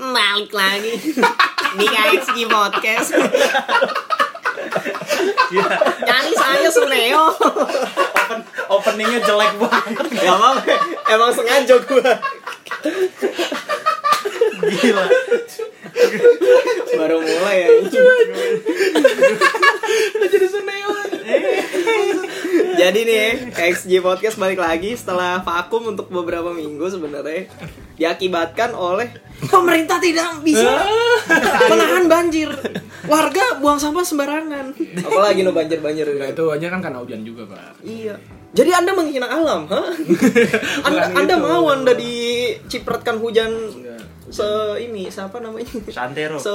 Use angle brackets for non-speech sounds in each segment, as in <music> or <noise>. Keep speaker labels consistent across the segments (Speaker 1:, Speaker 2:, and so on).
Speaker 1: naik lagi <laughs> di podcast Iya. nyari saya Suneo
Speaker 2: Open, openingnya jelek banget.
Speaker 1: gak apa emang sengaja gue
Speaker 2: Gila.
Speaker 1: baru mulai ya
Speaker 3: Jadi Suneo.
Speaker 1: jadi nih XG podcast balik lagi setelah vakum untuk beberapa minggu sebenarnya diakibatkan oleh Ah. pemerintah tidak bisa menahan banjir warga buang sampah sembarangan apalagi no banjir banjir
Speaker 3: Nah, itu aja kan karena hujan juga, Pak.
Speaker 1: Iya. Jadi Anda menghina alam,
Speaker 3: <laughs>
Speaker 1: ha? anda,
Speaker 3: Bukan
Speaker 1: anda
Speaker 3: gitu.
Speaker 1: mau Anda dicipratkan hujan se ini siapa namanya?
Speaker 3: Oh.
Speaker 2: Santero.
Speaker 1: Se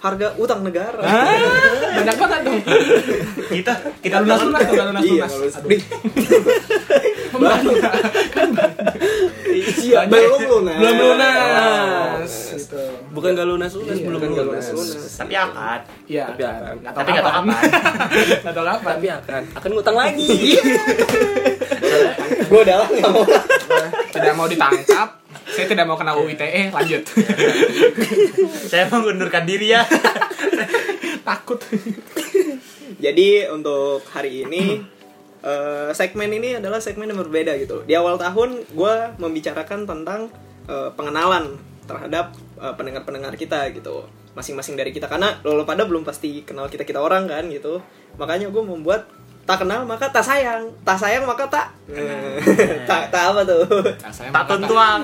Speaker 1: harga utang negara.
Speaker 3: Banyak banget dong.
Speaker 2: Kita kita
Speaker 3: Kita lunas lunas,
Speaker 2: telan.
Speaker 3: kita lunas
Speaker 1: Iya,
Speaker 3: lunas.
Speaker 1: lunas.
Speaker 3: Aduh. Pembantu.
Speaker 1: Iya, belum lunas.
Speaker 3: Belum lunas. Gitu.
Speaker 4: Bukan gak lunas lunas
Speaker 3: Iya,
Speaker 4: belum
Speaker 1: Bukan nggak
Speaker 4: lunas.
Speaker 1: lunas.
Speaker 2: Tapi akad.
Speaker 3: Iya.
Speaker 4: Tapi akan.
Speaker 2: Tapi nggak tahu kapan.
Speaker 3: Nggak tahu kapan.
Speaker 4: Tapi akan akan ngutang lagi.
Speaker 1: Gua dalam nggak mau.
Speaker 3: Tidak mau ditangkap. Saya tidak mau kena UITE, E. lanjut.
Speaker 2: Saya mengundurkan diri ya.
Speaker 3: Takut.
Speaker 1: Jadi untuk hari <clears throat> ini eh, segmen ini adalah segmen yang berbeda gitu. Di awal tahun gue membicarakan tentang eh, pengenalan terhadap eh, pendengar-pendengar kita gitu, masing-masing dari kita karena lo lo pada belum pasti kenal kita kita orang kan gitu. Makanya gue membuat tak kenal maka tak sayang, tak sayang maka tak Hmm. <laughs> tak tak apa <laughs> tuh?
Speaker 3: Nah, saya
Speaker 2: Tak
Speaker 3: mau kata-
Speaker 2: tentuang.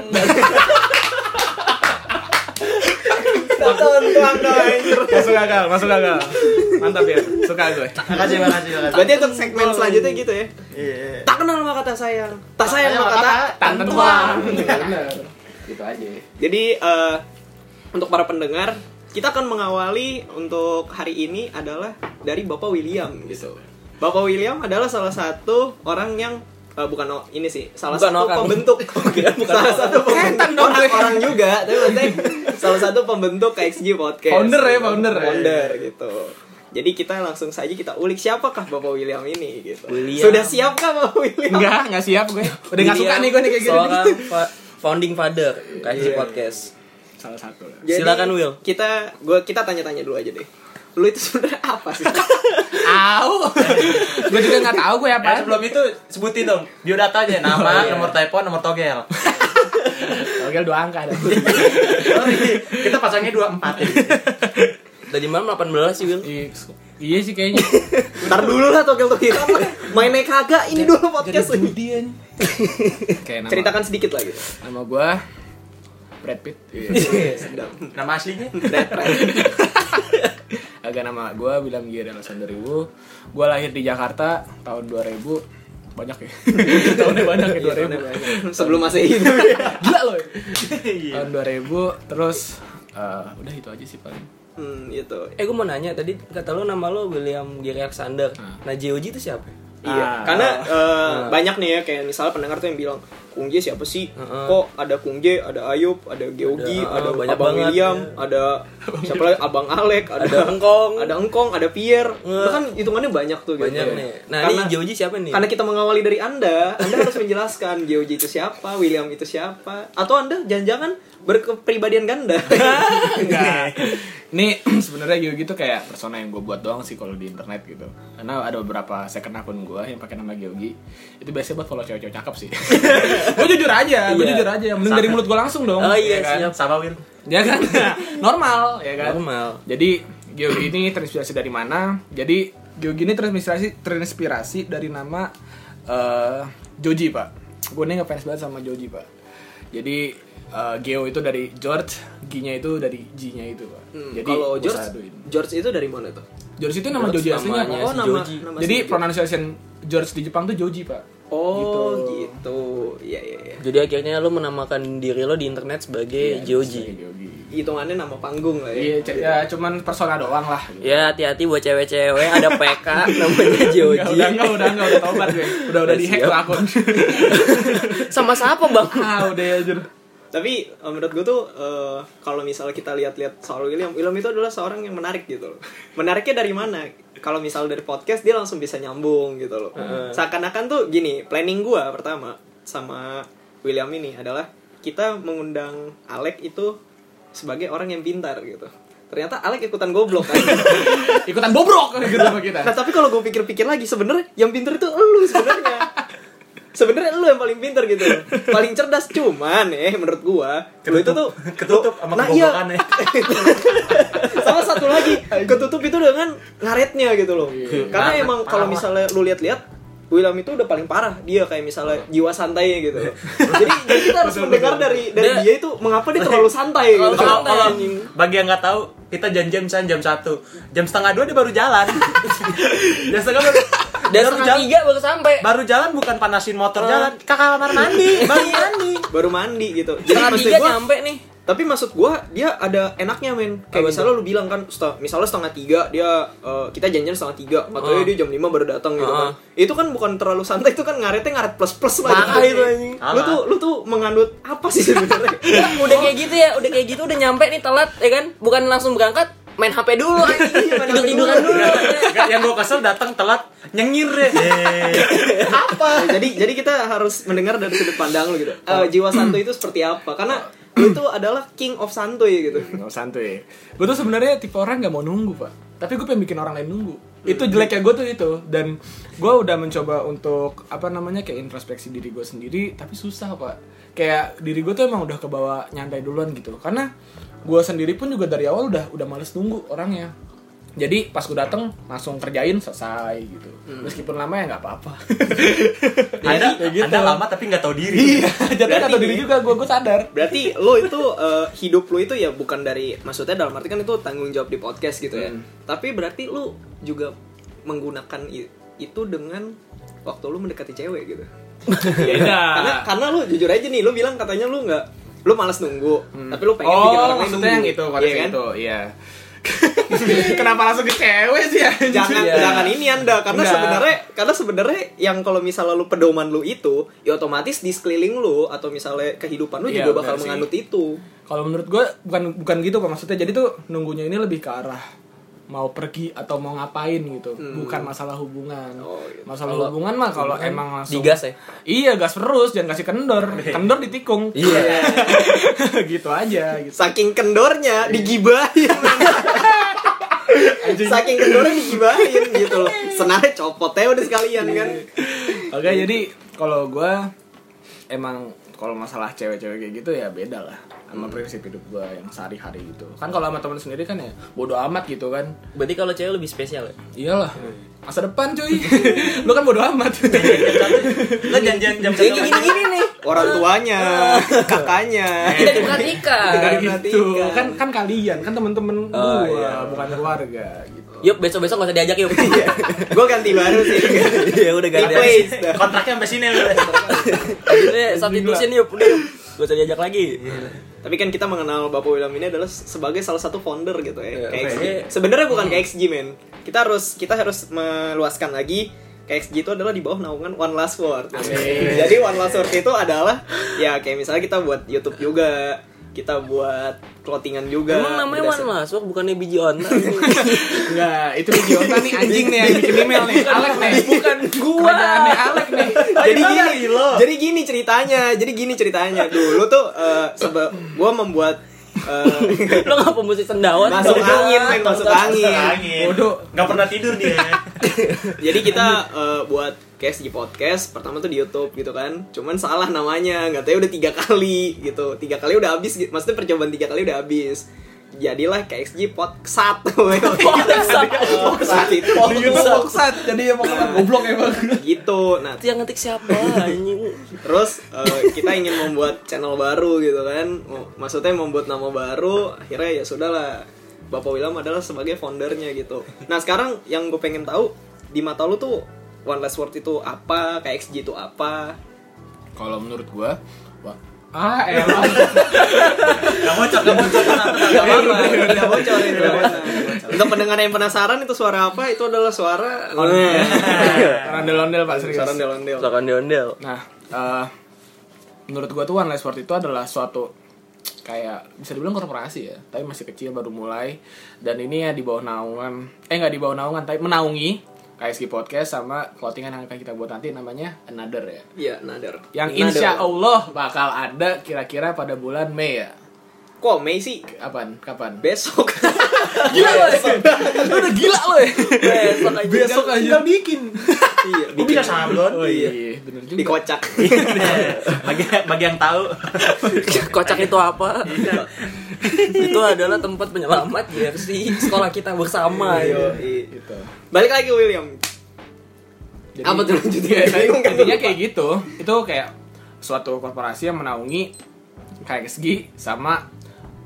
Speaker 1: Tak tentuang dong. anjir.
Speaker 3: Masuk akal, masuk akal. Mantap ya, suka gue.
Speaker 2: Makasih, makasih, makasih.
Speaker 1: Berarti untuk segmen selanjutnya gitu ya.
Speaker 2: Iya, iya.
Speaker 1: Tak kenal maka tak sayang, tak sayang maka tak
Speaker 3: Tak tentuang. Bener.
Speaker 4: Gitu aja.
Speaker 1: Jadi eh, untuk para pendengar, kita akan mengawali untuk hari ini adalah dari Bapak William gitu. Bapak William adalah salah satu orang yang eh, bukan o- ini sih, salah
Speaker 4: Bukan
Speaker 1: satu
Speaker 4: orang.
Speaker 3: <laughs>
Speaker 1: pembentuk. salah satu pembentuk
Speaker 3: Setan dong gue.
Speaker 1: orang juga, tapi maksudnya salah satu pembentuk KXG podcast.
Speaker 3: Founder ya, founder ya.
Speaker 1: Founder gitu. Jadi kita langsung saja kita ulik siapakah Bapak William ini gitu.
Speaker 4: William.
Speaker 1: Sudah siapkah Bapak William?
Speaker 3: Enggak, enggak siap gue. Udah enggak suka
Speaker 4: William,
Speaker 3: nih gue nih kayak gini.
Speaker 4: Iya. Seorang fa- founding father KSC podcast.
Speaker 3: Salah satu lah.
Speaker 1: Jadi,
Speaker 4: Silakan, Will.
Speaker 1: Kita gua kita tanya-tanya dulu aja deh. Lu itu sebenarnya apa sih? <laughs>
Speaker 3: Au. <laughs> gue juga enggak tahu gue apa.
Speaker 2: Eh, sebelum itu sebutin dong biodatanya nama, nomor telepon, nomor togel.
Speaker 3: Togel dua angka ada.
Speaker 2: Sorry, kita pasangnya 24 ya.
Speaker 4: Dari mana 18 sih, Will?
Speaker 3: Iya, Iya sih kayaknya.
Speaker 1: Ntar dulu lah togel togel. Main naik kagak ini dulu podcast ini.
Speaker 3: Kemudian. Kayak nama,
Speaker 1: Ceritakan sedikit lah gitu.
Speaker 3: nama gue Brad Pitt. Iya.
Speaker 1: <laughs> Sedap.
Speaker 2: Nama aslinya?
Speaker 3: Agak nama gue William Giri Alexander Ibu. Gue lahir di Jakarta tahun 2000 banyak ya. <laughs> Tahunnya banyak ya
Speaker 1: <laughs>
Speaker 3: 2000.
Speaker 1: Sebelum masih
Speaker 4: <laughs>
Speaker 1: itu.
Speaker 3: Gila loh. Tahun 2000 terus eh, udah itu aja sih paling.
Speaker 1: Hmm, gitu.
Speaker 4: Eh, gue mau nanya tadi kata lo nama lo William Gary Alexander.
Speaker 3: Hmm.
Speaker 4: Nah, JOG itu siapa?
Speaker 1: Iya,
Speaker 2: Ah.
Speaker 1: karena eh, banyak nih ya kayak misalnya pendengar tuh yang bilang Kung J siapa sih?
Speaker 4: Heeh.
Speaker 1: Kok ada Kung J, ada Ayub, ada Geogi,
Speaker 4: Ah, Ada,
Speaker 1: ada,
Speaker 4: ah, banyak
Speaker 1: Abang
Speaker 4: banget,
Speaker 1: William,
Speaker 4: ya. <laughs>
Speaker 1: ada siapa lagi? Abang Alek, ada,
Speaker 4: Ada Engkong.
Speaker 1: ada Engkong, ada Pierre.
Speaker 4: Nge-
Speaker 1: Itu kan hitungannya banyak tuh gitu.
Speaker 4: Banyak nih. Nah,
Speaker 1: Karena-
Speaker 4: ini JOG siapa
Speaker 3: Iya.
Speaker 4: nih?
Speaker 1: Karena kita mengawali dari Anda, Anda
Speaker 3: <laughs>
Speaker 1: harus menjelaskan Geoji itu siapa, William itu siapa, atau Anda jangan-jangan berkepribadian
Speaker 3: <laughs>
Speaker 1: ganda.
Speaker 4: Iya.
Speaker 3: Enggak. Ini <clears throat> sebenarnya Yogi tuh kayak persona yang gue buat doang sih kalau di internet gitu. Karena ada beberapa second akun gue yang pakai nama Yogi. Itu biasanya buat follow cewek-cewek cakep
Speaker 4: <laughs>
Speaker 3: sih. gue jujur aja, gue
Speaker 4: Iya.
Speaker 3: jujur aja. Mending dari mulut gue langsung dong.
Speaker 4: Oh
Speaker 3: ya
Speaker 4: iya,
Speaker 3: kan?
Speaker 4: siap.
Speaker 2: Sama Wil.
Speaker 3: Ya kan? <laughs> Normal, ya kan?
Speaker 4: Normal.
Speaker 3: Jadi Yogi ini terinspirasi dari mana? Jadi Yogi ini terinspirasi terinspirasi dari nama eh, Joji pak. Gue nih ngefans banget sama Joji pak. Jadi eh, Geo itu dari George, G-nya itu dari G-nya itu pak.
Speaker 1: Hmm,
Speaker 3: Jadi
Speaker 1: kalau
Speaker 3: gua
Speaker 1: George,
Speaker 3: saduin.
Speaker 1: George itu dari mana tuh?
Speaker 3: George itu nama
Speaker 4: George
Speaker 3: Joji aslinya.
Speaker 4: namanya.
Speaker 1: oh,
Speaker 4: si
Speaker 1: nama,
Speaker 4: Joji.
Speaker 1: nama
Speaker 3: Jadi
Speaker 1: si Joji.
Speaker 3: pronunciation George di Jepang tuh Joji pak.
Speaker 1: Oh, gitu. Iya, iya, iya.
Speaker 4: Jadi akhirnya lo menamakan diri lo di internet
Speaker 3: Kayak
Speaker 4: sebagai JOG.
Speaker 3: Iya, Joji.
Speaker 1: Hitungannya nama panggung lah ya.
Speaker 3: Iya, c- ya cuman persona doang lah. gitu.
Speaker 4: Ya hati-hati buat cewek-cewek ada PK namanya
Speaker 3: Enggak,
Speaker 4: JOG.
Speaker 3: udah enggak, udah enggak, udah tobat gue. Udah udah
Speaker 4: Udah
Speaker 3: di hack
Speaker 4: siap.
Speaker 3: tuh akun.
Speaker 4: Sama siapa, Bang?
Speaker 3: ah, udah ya jur.
Speaker 1: Tapi eh, menurut gue tuh eh, kalau misalnya kita lihat-lihat soal William, William itu adalah seorang yang menarik gitu loh. <laughs> Menariknya dari mana? Kalau misal dari podcast dia langsung bisa nyambung gitu loh. Seakan-akan tuh gini, planning gua pertama sama William ini adalah kita mengundang Alek itu sebagai orang yang pintar gitu. Ternyata Alek ikutan goblok kan.
Speaker 3: Ikutan bobrok gitu sama kita.
Speaker 1: nah tapi kalau gue pikir-pikir lagi sebenarnya yang pintar itu elu sebenarnya. sebenarnya lu yang paling pintar gitu, paling cerdas cuman ya menurut gua lu itu tuh
Speaker 2: Ketutup sama ya. kebobokannya.
Speaker 1: sama satu lagi ketutup itu dengan ngaretnya gitu loh karena
Speaker 2: Iya. Ngaret,
Speaker 1: emang kalau
Speaker 2: parah.
Speaker 1: misalnya lu lihat-lihat William itu udah paling parah dia kayak misalnya jiwa santainya gitu loh. jadi, jadi kita harus mendengar dari dari
Speaker 2: Dia-
Speaker 1: dia itu mengapa dia terlalu santai gitu
Speaker 2: Nah, Kalau kalau- kalau
Speaker 1: Anjing.
Speaker 2: bagi yang nggak tahu, kita janjian misalnya jam 1 Jam setengah dua dia baru jalan. jam setengah baru,
Speaker 4: Dan
Speaker 2: baru
Speaker 4: setengah
Speaker 2: jalan,
Speaker 4: tiga Oh. baru sampai.
Speaker 2: baru jalan bukan panasin motor jalan ke kamar mandi, baru mandi.
Speaker 1: baru mandi gitu jadi
Speaker 4: Setengah
Speaker 1: maksud
Speaker 4: tiga
Speaker 1: gua
Speaker 4: nyampe nih.
Speaker 1: tapi maksud gua dia ada enaknya men kayak misalnya lu bilang kan seta- misalnya setengah tiga dia eh, kita janjian setengah tiga katanya
Speaker 4: Ah.
Speaker 1: dia jam lima baru datang gitu kan
Speaker 4: Ah.
Speaker 1: itu kan bukan terlalu santai itu kan ngaretnya ngaret plus plus lagi
Speaker 4: Parah itu,
Speaker 1: anjing lu
Speaker 2: Parah.
Speaker 1: tuh lu tuh mengandut apa sih
Speaker 4: <laughs>
Speaker 1: sebenarnya
Speaker 4: Ya, udah kayak gitu ya, udah kayak gitu udah nyampe nih telat ya kan? Bukan langsung berangkat, main HP dulu anjing. Tidur-tiduran dulu.
Speaker 2: Nggak, yang gue kesel datang telat nyengir deh.
Speaker 1: Ya, jadi jadi kita harus mendengar dari sudut pandang lu gitu. Eh, jiwa santuy itu seperti apa? Karena lu itu adalah king of santuy gitu.
Speaker 3: Nggak santuy. Gue tuh sebenarnya tipe orang nggak mau nunggu pak. Tapi gue pengen bikin orang lain nunggu. Itu jeleknya gue tuh itu. Dan gue udah mencoba untuk apa namanya kayak introspeksi diri gue sendiri. Tapi susah pak. Kayak diri gue tuh emang udah kebawa nyantai duluan gitu. Karena gue sendiri pun juga dari awal udah udah males nunggu orangnya. Jadi pas gue dateng langsung kerjain selesai gitu. Meskipun lama ya nggak apa-apa.
Speaker 2: Anda,
Speaker 3: Kayak gitu.
Speaker 2: anda lama tapi nggak tahu diri.
Speaker 3: Iya, <laughs> jatuhnya atau diri juga gue gue sadar.
Speaker 1: Berarti lu itu eh, hidup lu itu ya bukan dari maksudnya dalam arti kan itu tanggung jawab di podcast gitu ya.
Speaker 3: Hmm.
Speaker 1: Tapi berarti lu juga menggunakan i- itu dengan waktu lu mendekati cewek gitu.
Speaker 3: Beda.
Speaker 1: Karena karena lu jujur aja nih, lu bilang katanya lu nggak lu malas nunggu, tapi lu pengen
Speaker 3: oh,
Speaker 1: bikin orang lain
Speaker 3: maksudnya
Speaker 1: nunggu.
Speaker 3: yang itu konteks
Speaker 1: Iya kan?
Speaker 3: itu, iya. <laughs> Kenapa langsung ke cewek sih anjing?
Speaker 1: jangan
Speaker 3: Iya.
Speaker 1: jangan ini anda karena
Speaker 3: Enggak.
Speaker 1: sebenarnya karena sebenarnya yang kalau misalnya lu pedoman lu itu ya otomatis di sekeliling lu atau misalnya kehidupan lu
Speaker 3: Iya,
Speaker 1: juga bakal
Speaker 3: benar sih.
Speaker 1: menganut itu
Speaker 3: Kalau menurut gue bukan bukan gitu pak maksudnya. Jadi tuh nunggunya ini lebih ke arah mau pergi atau mau ngapain gitu, bukan masalah hubungan.
Speaker 1: Hmm. Oh, iya.
Speaker 3: Masalah
Speaker 4: Kalau
Speaker 3: hubungan mah kalau emang langsung
Speaker 4: digas ya?
Speaker 3: Iya gas terus, jangan kasih
Speaker 1: <laughs>
Speaker 3: kendor, kendor ditikung.
Speaker 4: Iya.
Speaker 3: <laughs> gitu aja. Gitu.
Speaker 1: saking kendornya digibahin saking kendornya digibahin gitu loh senarnya copotnya udah sekalian kan
Speaker 3: Oke, jadi kalau gua emang kalau masalah cewek-cewek kayak gitu ya beda lah sama prinsip hidup gua yang sehari-hari gitu. Kan kalau sama teman sendiri kan ya bodo amat gitu kan.
Speaker 4: Berarti kalau cewek lebih spesial ya?
Speaker 3: Iyalah. Masa depan cuy. <laughs> Lu kan bodo <laughs> amat.
Speaker 2: Lo janjian jam
Speaker 4: Jadi
Speaker 2: satu.
Speaker 4: gini-gini nih.
Speaker 1: orang tuanya kakaknya
Speaker 4: Tidak diperhatikan.
Speaker 3: gitu. Kan kan kalian, kan teman-teman gua, bukan keluarga gitu.
Speaker 4: Yup, besok-besok gak usah diajak yuk.
Speaker 1: gue ganti baru sih
Speaker 4: Ya udah
Speaker 1: di
Speaker 4: ganti aja.
Speaker 1: place dah.
Speaker 2: Kontraknya sampai sini. lo.
Speaker 4: Ini substitution yuk, udah yuk. Iya. Gak usah diajak lagi.
Speaker 1: Tapi kan kita mengenal Bapak William ini adalah sebagai salah satu founder gitu ya.
Speaker 4: Iya,
Speaker 1: KXG.
Speaker 4: oke.
Speaker 1: Sebenarnya bukan KXG men. Kita harus kita harus meluaskan lagi KXG itu adalah di bawah naungan One Last Word. <laughs> Jadi One Last Word itu adalah ya kayak misalnya kita buat YouTube juga, kita buat clothingan juga.
Speaker 4: Emang namanya Wan Mas, Wah, bukannya biji on.
Speaker 3: Enggak, itu video Jota nih anjing nih yang bikin email nih. Alek nih.
Speaker 4: Bukan gua.
Speaker 3: Kerjaannya Alek nih.
Speaker 1: jadi gini jadi gini ceritanya jadi gini ceritanya dulu tuh eh, sebe- gua membuat eh,
Speaker 4: <laughs> Lo gak pemusik sendawan.
Speaker 1: masuk angin men masuk angin
Speaker 2: Angin.
Speaker 3: Bodoh.
Speaker 2: Nggak pernah tidur dia.
Speaker 1: Jadi kita eh, buat KSG podcast pertama tuh di YouTube gitu kan. Cuman salah namanya, nggak tahu udah tiga kali gitu. Tiga kali udah habis, gitu. maksudnya percobaan tiga kali udah habis. Jadilah KSG Pod <laughs> satu. Podsat itu.
Speaker 3: Boksat. Jadi emang goblok ya, emang.
Speaker 1: Gitu. Nah,
Speaker 4: Itu yang ngetik siapa anjing?
Speaker 1: terus eh, kita ingin membuat channel baru gitu kan. Maksudnya membuat nama baru, akhirnya ya sudahlah. Bapak William adalah sebagai foundernya gitu. Nah, sekarang yang gue pengen tahu di mata lu tuh One Last Word itu apa, KXG itu apa,
Speaker 3: Kalau menurut gua, wah, ah elah.
Speaker 2: Nggak bocor, nggak bocor. tenang, tenang, nggak
Speaker 1: Gak
Speaker 2: apa-apa.
Speaker 1: apa-apa, tidak bocor itu. Untuk pendengar yang penasaran itu suara apa? Itu adalah suara
Speaker 3: Rondel-rondel Pak serius.
Speaker 1: suara ondel-ondel.
Speaker 4: Belakang ondel
Speaker 3: Nah, eh, menurut gua tuh One Last Word itu adalah suatu kayak bisa dibilang korporasi ya, tapi masih kecil baru mulai dan ini ya di bawah naungan eh nggak di bawah naungan tapi menaungi KSG Podcast sama clothingan yang akan kita buat nanti namanya Another ya.
Speaker 1: Iya, nadar.
Speaker 3: Yang
Speaker 1: Nadar.
Speaker 3: insya Allah bakal ada kira-kira pada bulan Mei ya.
Speaker 1: Kok Mei sih?
Speaker 3: Kapan? Kapan?
Speaker 1: Besok.
Speaker 3: <laughs>
Speaker 1: Iya.
Speaker 3: Gila lo ya. Lu udah gila lo ya.
Speaker 4: Besok aja. kan.
Speaker 3: Besok aja.
Speaker 2: Tinggal bikin.
Speaker 1: iya,
Speaker 2: Gue bisa sablon.
Speaker 3: Oh iya, bener juga.
Speaker 1: dikocak.
Speaker 2: bagi bagi yang tahu.
Speaker 4: Iya, Kocak itu apa? itu adalah tempat penyelamat jersey sekolah kita
Speaker 1: <laughs>
Speaker 4: bersama.
Speaker 1: Ayo,
Speaker 4: ya.
Speaker 1: iya.
Speaker 3: Gitu.
Speaker 1: Balik lagi William.
Speaker 3: Jadi,
Speaker 4: Apa tuh lanjutnya?
Speaker 3: Ya,
Speaker 1: Bingung kan
Speaker 3: intinya
Speaker 1: gua.
Speaker 3: kayak gitu. Itu kayak suatu korporasi yang menaungi KXG sama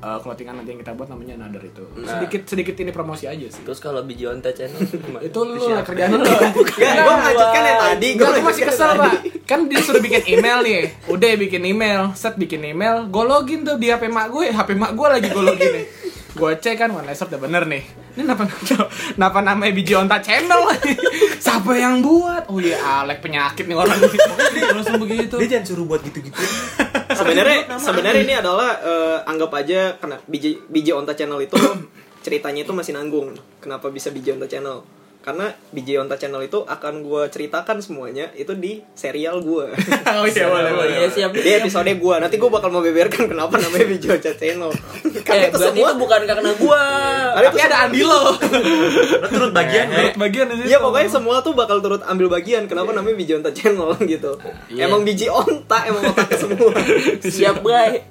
Speaker 3: eh, clothingan nanti yang kita buat namanya Another itu.
Speaker 4: Nah.
Speaker 3: Sedikit sedikit ini promosi aja sih.
Speaker 4: Terus kalau Beyond Tech Channel gimana?
Speaker 3: Itu lu lah <laughs> kerjaan lu. Enggak,
Speaker 1: Gak, gue lanjutkan yang ya tadi. Gua
Speaker 3: gue masih
Speaker 1: lanjutkan
Speaker 3: kesel
Speaker 1: yang <laughs> tadi.
Speaker 3: pak Kan dia suruh bikin email nih Udah bikin email Set bikin email Gue login tuh di HP mak gue HP mak gue lagi gue login nih Gue cek kan One Laptop udah bener nih Ini kenapa Kenapa namanya Biji Onta Channel <laughs> Siapa yang buat Oh iya Alek penyakit nih orang Langsung begitu
Speaker 2: Dia jangan suruh buat gitu-gitu.
Speaker 1: sebenarnya sebenarnya ini adalah eh, anggap aja kena biji biji onta channel
Speaker 4: <coughs>
Speaker 1: itu ceritanya itu masih nanggung kenapa bisa biji onta channel karena biji onta channel itu akan gue ceritakan semuanya itu di serial
Speaker 4: <laughs>
Speaker 1: gue
Speaker 3: Oh iya boleh
Speaker 4: Oh,
Speaker 3: boleh
Speaker 4: iya siap.
Speaker 1: di episode gue nanti gue bakal mau beberkan kenapa namanya biji onta
Speaker 4: <laughs>
Speaker 1: channel
Speaker 4: Eh,
Speaker 1: karena itu
Speaker 4: berarti
Speaker 1: semua
Speaker 4: itu bukan karena gua.
Speaker 1: karena itu
Speaker 3: Tapi ada
Speaker 1: semua-
Speaker 3: Andilo
Speaker 2: Lo turut bagian ya.
Speaker 3: Menurut bagian di situ.
Speaker 1: <laughs> Iya pokoknya semua tuh bakal turut ambil bagian kenapa
Speaker 4: Iya.
Speaker 1: namanya biji onta channel <laughs> gitu.
Speaker 3: iya.
Speaker 1: Emang biji onta emang otak semua.
Speaker 4: <laughs> Siap, Bray.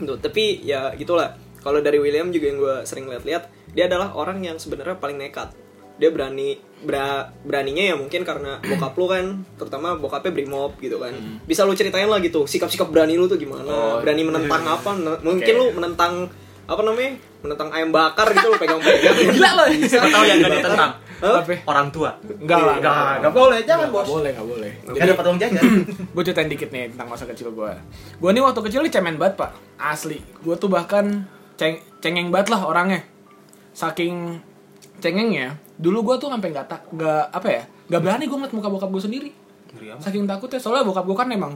Speaker 1: Tuh, tapi ya gitulah. Kalau dari William juga yang gue sering lihat-lihat, dia adalah orang yang sebenarnya paling nekat. Dia berani bra- beraninya ya mungkin karena <clears throat> bokap lu kan, terutama bokapnya Brimob gitu kan.
Speaker 3: Hmm.
Speaker 1: Bisa lu ceritain lah gitu, sikap-sikap berani lu tuh gimana?
Speaker 3: Oh, iya.
Speaker 1: berani menentang
Speaker 3: <laughs>
Speaker 1: apa? men- Mungkin lu menentang apa namanya? Menentang ayam bakar gitu lu pegang-pegang.
Speaker 3: <laughs> Gila lo ya.
Speaker 2: Siapa tahu yang gak ditentang.
Speaker 1: Hah?
Speaker 3: Apa?
Speaker 2: Eh, Orang tua.
Speaker 3: Enggak lah
Speaker 5: Iya,
Speaker 2: Enggak, enggak boleh, jangan
Speaker 3: Enggak
Speaker 2: bos.
Speaker 3: boleh, enggak boleh
Speaker 2: Gak dapat uang jajan.
Speaker 3: gue ceritain dikit nih tentang masa kecil gue gue nih waktu kecil nih cemen banget pak asli gue tuh bahkan ceng cengeng banget lah orangnya saking cengengnya dulu gue tuh sampai nggak tak nggak apa ya nggak berani gue ngeliat muka bokap gue sendiri saking takutnya soalnya bokap gue kan emang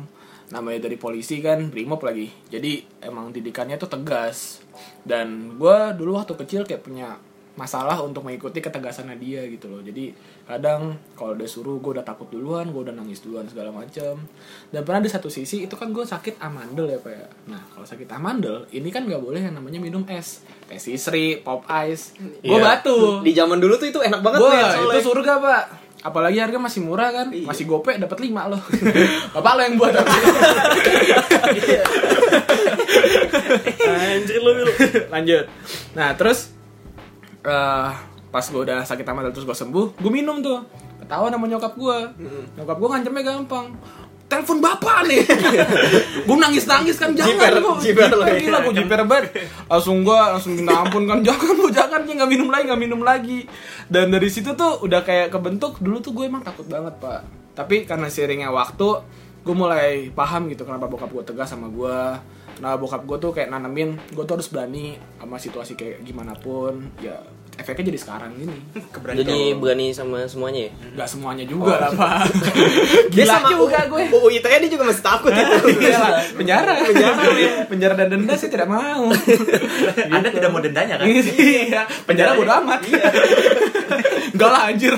Speaker 3: namanya dari polisi kan brimob lagi jadi emang didikannya tuh tegas dan gue dulu waktu kecil kayak punya masalah untuk mengikuti ketegasannya dia gitu loh jadi kadang kalau udah suruh gue udah takut duluan gue udah nangis duluan segala macam dan pernah di satu sisi itu kan gue sakit amandel ya pak ya nah kalau sakit amandel ini kan nggak boleh yang namanya minum es teh sisri pop ice gue
Speaker 2: Iya.
Speaker 3: batu
Speaker 1: Di zaman dulu tuh itu enak banget
Speaker 3: Wah,
Speaker 1: men, soalnya.
Speaker 3: itu surga, Pak. Apalagi harga masih murah kan? Masih gopek dapat 5 loh. <laughs> Bapak lo yang buat.
Speaker 4: Anjir lu, Wil.
Speaker 3: Lanjut. Nah, terus eh pas gue udah sakit amat terus gue sembuh, gue minum tuh. Ketawa sama nyokap gue. Nyokap gue ngancamnya gampang. Telepon bapak nih. gue nangis nangis kan jangan
Speaker 1: Jiper,
Speaker 3: lu.
Speaker 1: jiper lo.
Speaker 3: Gila gue jiper banget. Langsung gue langsung minta ampun kan <laughs> jangan lu jangan ya nggak minum lagi nggak minum lagi. Dan dari situ tuh udah kayak kebentuk dulu tuh gue emang takut banget pak. Tapi karena seiringnya waktu gue mulai paham gitu kenapa bokap gue tegas sama gue. Nah bokap gue tuh kayak nanamin gue tuh harus berani sama situasi kayak gimana pun. Ya efeknya jadi sekarang ini.
Speaker 2: Keberanian.
Speaker 4: Jadi berani sama semuanya ya?
Speaker 3: Gak semuanya juga lah pak. <laughs>
Speaker 1: Dia
Speaker 3: Gila
Speaker 1: sama
Speaker 3: Oh. juga
Speaker 1: U-
Speaker 3: gue.
Speaker 1: UU ITE dia juga masih
Speaker 3: <laughs>
Speaker 1: takut itu.
Speaker 3: Iya, Pak. penjara penjara ya. penjara dan denda sih tidak mau
Speaker 2: <laughs> Anda tidak mau dendanya kan?
Speaker 3: iya penjara bodo amat enggak lah anjir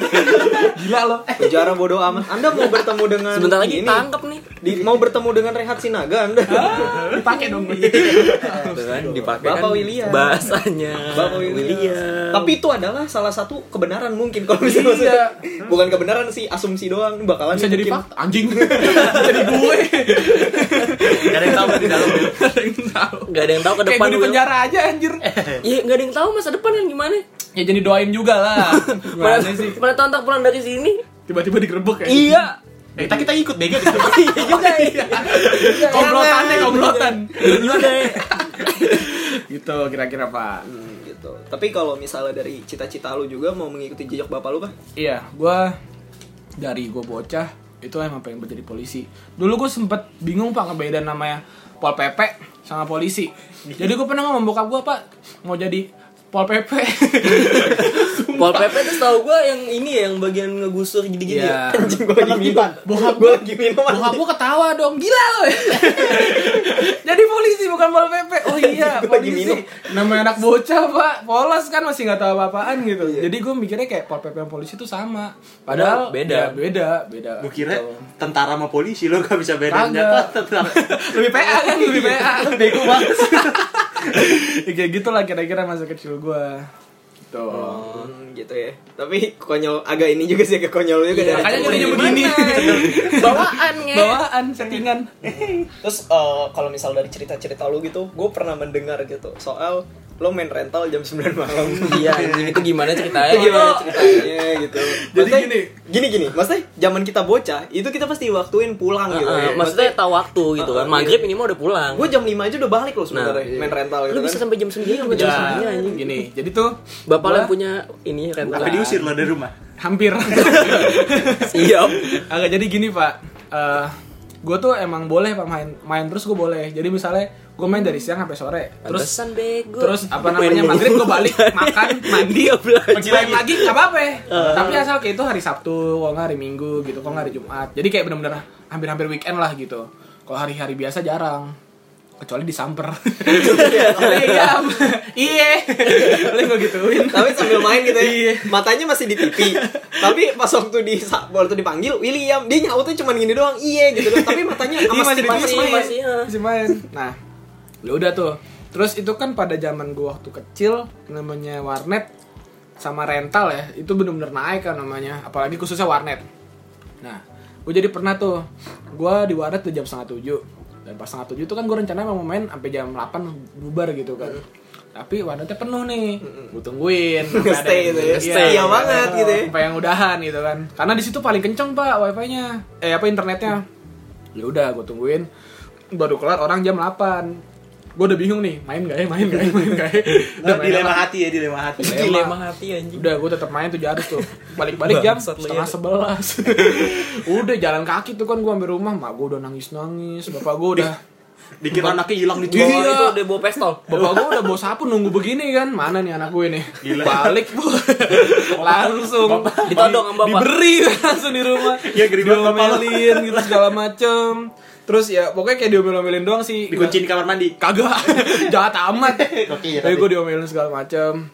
Speaker 3: gila lo
Speaker 1: Penjara bodoh amat. Anda mau bertemu dengan
Speaker 4: Sebentar lagi
Speaker 1: ini, Iya,
Speaker 4: tangkap nih.
Speaker 1: di- mau bertemu dengan Rehat Sinaga Anda.
Speaker 3: Ah, dipakai dong
Speaker 4: Kan, dipakai
Speaker 1: Bapak William.
Speaker 4: bahasanya
Speaker 1: <laughs> Bapak William. Tapi itu adalah salah satu kebenaran mungkin kalau bisa
Speaker 3: Iya.
Speaker 1: maksudnya. Bukan kebenaran sih, asumsi doang bakalan
Speaker 3: bisa jadi
Speaker 1: mungkin.
Speaker 3: fakta anjing jadi gue
Speaker 2: Gak ada yang tahu di
Speaker 4: <laughs>
Speaker 2: dalam.
Speaker 4: nggak ada yang tahu ke
Speaker 3: kayak
Speaker 4: depan
Speaker 3: gue di
Speaker 4: Wil.
Speaker 3: penjara aja anjir
Speaker 4: ya nggak ada yang tahu masa depan yang gimana
Speaker 3: ya jadi doain juga lah
Speaker 4: mana
Speaker 3: gimana sih
Speaker 4: mana tontak pulang dari sini
Speaker 3: tiba-tiba digerebek ya
Speaker 4: iya
Speaker 2: Eh, kita kita ikut bego gitu.
Speaker 4: iya juga ya
Speaker 3: komplotan deh komplotan
Speaker 4: Iya juga ya.
Speaker 3: gitu kira-kira pak
Speaker 1: Hmm, gitu. Tapi kalau misalnya dari cita-cita lu juga mau mengikuti jejak bapak lu kah?
Speaker 3: Iya, gua dari gue bocah itu emang pengen menjadi polisi. Dulu gue sempet bingung pak ngebeda namanya pol pp sama polisi. Jadi gue pernah ngomong bokap gue pak mau jadi pol pp.
Speaker 1: <laughs>
Speaker 4: Pol PP tuh tahu gua yang ini ya, yang bagian ngegusur gitu-gitu ya.
Speaker 3: Iya.
Speaker 1: Anjing gua lagi minum.
Speaker 3: Bokap
Speaker 1: Gua lagi minum.
Speaker 3: Bokap gue ketawa dong gila lo. <laughs> jadi polisi bukan pol pp. Oh iya
Speaker 1: Gua lagi
Speaker 3: polisi.
Speaker 1: minum.
Speaker 3: Namanya anak bocah pak, polos kan masih nggak tahu apa-apaan gitu.
Speaker 1: Iya.
Speaker 3: Jadi gue mikirnya kayak pol pp sama polisi itu sama. Padahal
Speaker 4: Beda.
Speaker 3: ya, beda beda.
Speaker 2: Gue kira
Speaker 3: Gitu.
Speaker 2: tentara sama polisi lo gak bisa bedain
Speaker 3: Kagak.
Speaker 2: nyata tentara.
Speaker 3: lebih PA kan lebih PA.
Speaker 2: Bego banget.
Speaker 3: Ya, <laughs> kayak gitu lah kira-kira masa kecil gua Gitu.
Speaker 1: Hmm, gitu ya tapi konyol agak ini juga sih agak konyol juga dari
Speaker 3: Iya, Makanya
Speaker 1: cowok
Speaker 3: jadinya
Speaker 1: ini.
Speaker 3: begini.
Speaker 4: Iya, <laughs> Bawaan nge.
Speaker 3: Bawaan settingan.
Speaker 1: Terus eh, kalau misal dari cerita-cerita lu gitu, gue pernah mendengar gitu soal lo main rental jam 9 malam. <laughs>
Speaker 4: Iya, anjing, itu gimana ceritanya?
Speaker 1: Itu Eh, gimana ceritanya gitu.
Speaker 3: Jadi
Speaker 1: Maksudnya,
Speaker 3: gini.
Speaker 1: gini gini, maksudnya zaman kita bocah itu kita pasti waktuin pulang
Speaker 4: Heeh,
Speaker 1: gitu.
Speaker 4: Ah, maksudnya tahu waktu gitu kan. Maghrib ini mah udah pulang.
Speaker 1: gue jam 5 aja udah balik loh sebenarnya
Speaker 4: Nah, iya.
Speaker 1: main rental gitu
Speaker 4: Lu bisa
Speaker 1: kan.
Speaker 4: sampai jam 9 sampai jam
Speaker 3: Ya,
Speaker 4: 9 anjing.
Speaker 3: gini. Jadi tuh
Speaker 4: Bapak lo
Speaker 3: gua
Speaker 4: yang punya ini ya, kan? rental.
Speaker 2: Tapi diusir lo dari rumah.
Speaker 3: <laughs> hampir.
Speaker 4: Iya. <laughs>
Speaker 3: Agak jadi gini pak, Eh gue tuh emang boleh pak main main terus gue boleh. Jadi misalnya gue main dari siang sampai sore, terus
Speaker 4: Pantesan bego.
Speaker 3: terus apa
Speaker 4: Main
Speaker 3: namanya
Speaker 4: mulu.
Speaker 3: maghrib gue
Speaker 4: <laughs>
Speaker 3: balik makan mandi
Speaker 4: Dia belajar.
Speaker 2: Pergi
Speaker 3: main
Speaker 2: lagi.
Speaker 3: lagi nggak apa-apa. Tapi asal kayak itu hari Sabtu, kalau nggak hari Minggu gitu, kalau nggak hari Jumat. Jadi kayak benar-benar hampir-hampir weekend lah gitu. Kalau hari-hari biasa jarang kecuali disamper. Iya, <laughs> iya, paling gue gituin.
Speaker 1: <laughs> Tapi sambil main gitu ya, matanya masih di pipi. Tapi pas waktu di sa- waktu dipanggil William, dia nyautnya cuman gini doang, iya gitu loh. Tapi matanya sama
Speaker 3: Iya, masih
Speaker 1: stick
Speaker 3: di
Speaker 1: masih
Speaker 3: pipi,
Speaker 1: main.
Speaker 4: masih. Iya.
Speaker 3: masih main nah ya udah tuh terus itu kan pada zaman gua waktu kecil namanya warnet sama rental ya itu bener-bener naik kan namanya apalagi khususnya warnet nah gue jadi pernah tuh gua di warnet tuh jam setengah tujuh dan pas setengah tujuh tuh kan gue rencana mau main sampai jam 8 bubar gitu kan tapi warnetnya penuh nih gue tungguin sampai
Speaker 1: <laughs> Stay
Speaker 3: ada yang-
Speaker 1: gitu ya.
Speaker 3: Iya,
Speaker 1: Stay
Speaker 3: iya,
Speaker 1: banget gitu ya.
Speaker 3: sampai yang udahan gitu kan karena di situ paling kenceng pak wifi-nya eh apa internetnya ya udah gue tungguin baru kelar orang jam 8 gue udah bingung nih main gak ya main gak ya main gak ya udah
Speaker 2: Lo
Speaker 1: Nah,
Speaker 3: main
Speaker 2: dilema
Speaker 3: apa?
Speaker 2: hati ya, dilema hati.
Speaker 4: Dilema hati anjing.
Speaker 3: udah gue tetap main tuh harus tuh balik balik jam
Speaker 4: Bangsat lu
Speaker 3: setengah
Speaker 4: ya.
Speaker 3: sebelas <laughs> udah jalan kaki tuh kan gue ambil rumah mak gue udah nangis nangis bapak gue udah
Speaker 2: Dikira anaknya hilang di
Speaker 4: Bawa
Speaker 2: bawah.
Speaker 4: itu udah bawa pistol.
Speaker 3: Bapak gue udah bawa sapu nunggu begini kan Mana nih anak gue nih
Speaker 2: Gila.
Speaker 3: Balik bu Langsung
Speaker 4: Ditodong sama bapak.
Speaker 3: Diberi <laughs> langsung di rumah
Speaker 2: Iya, gede banget bapak lo.
Speaker 3: Diomelin gitu segala macem Terus ya pokoknya kayak diomel-omelin doang sih
Speaker 2: Dikunci di kamar mandi.
Speaker 3: Kagak <laughs> Jahat amat
Speaker 2: Oke, ya,
Speaker 3: Tapi
Speaker 2: tapi-
Speaker 3: gue diomelin segala macem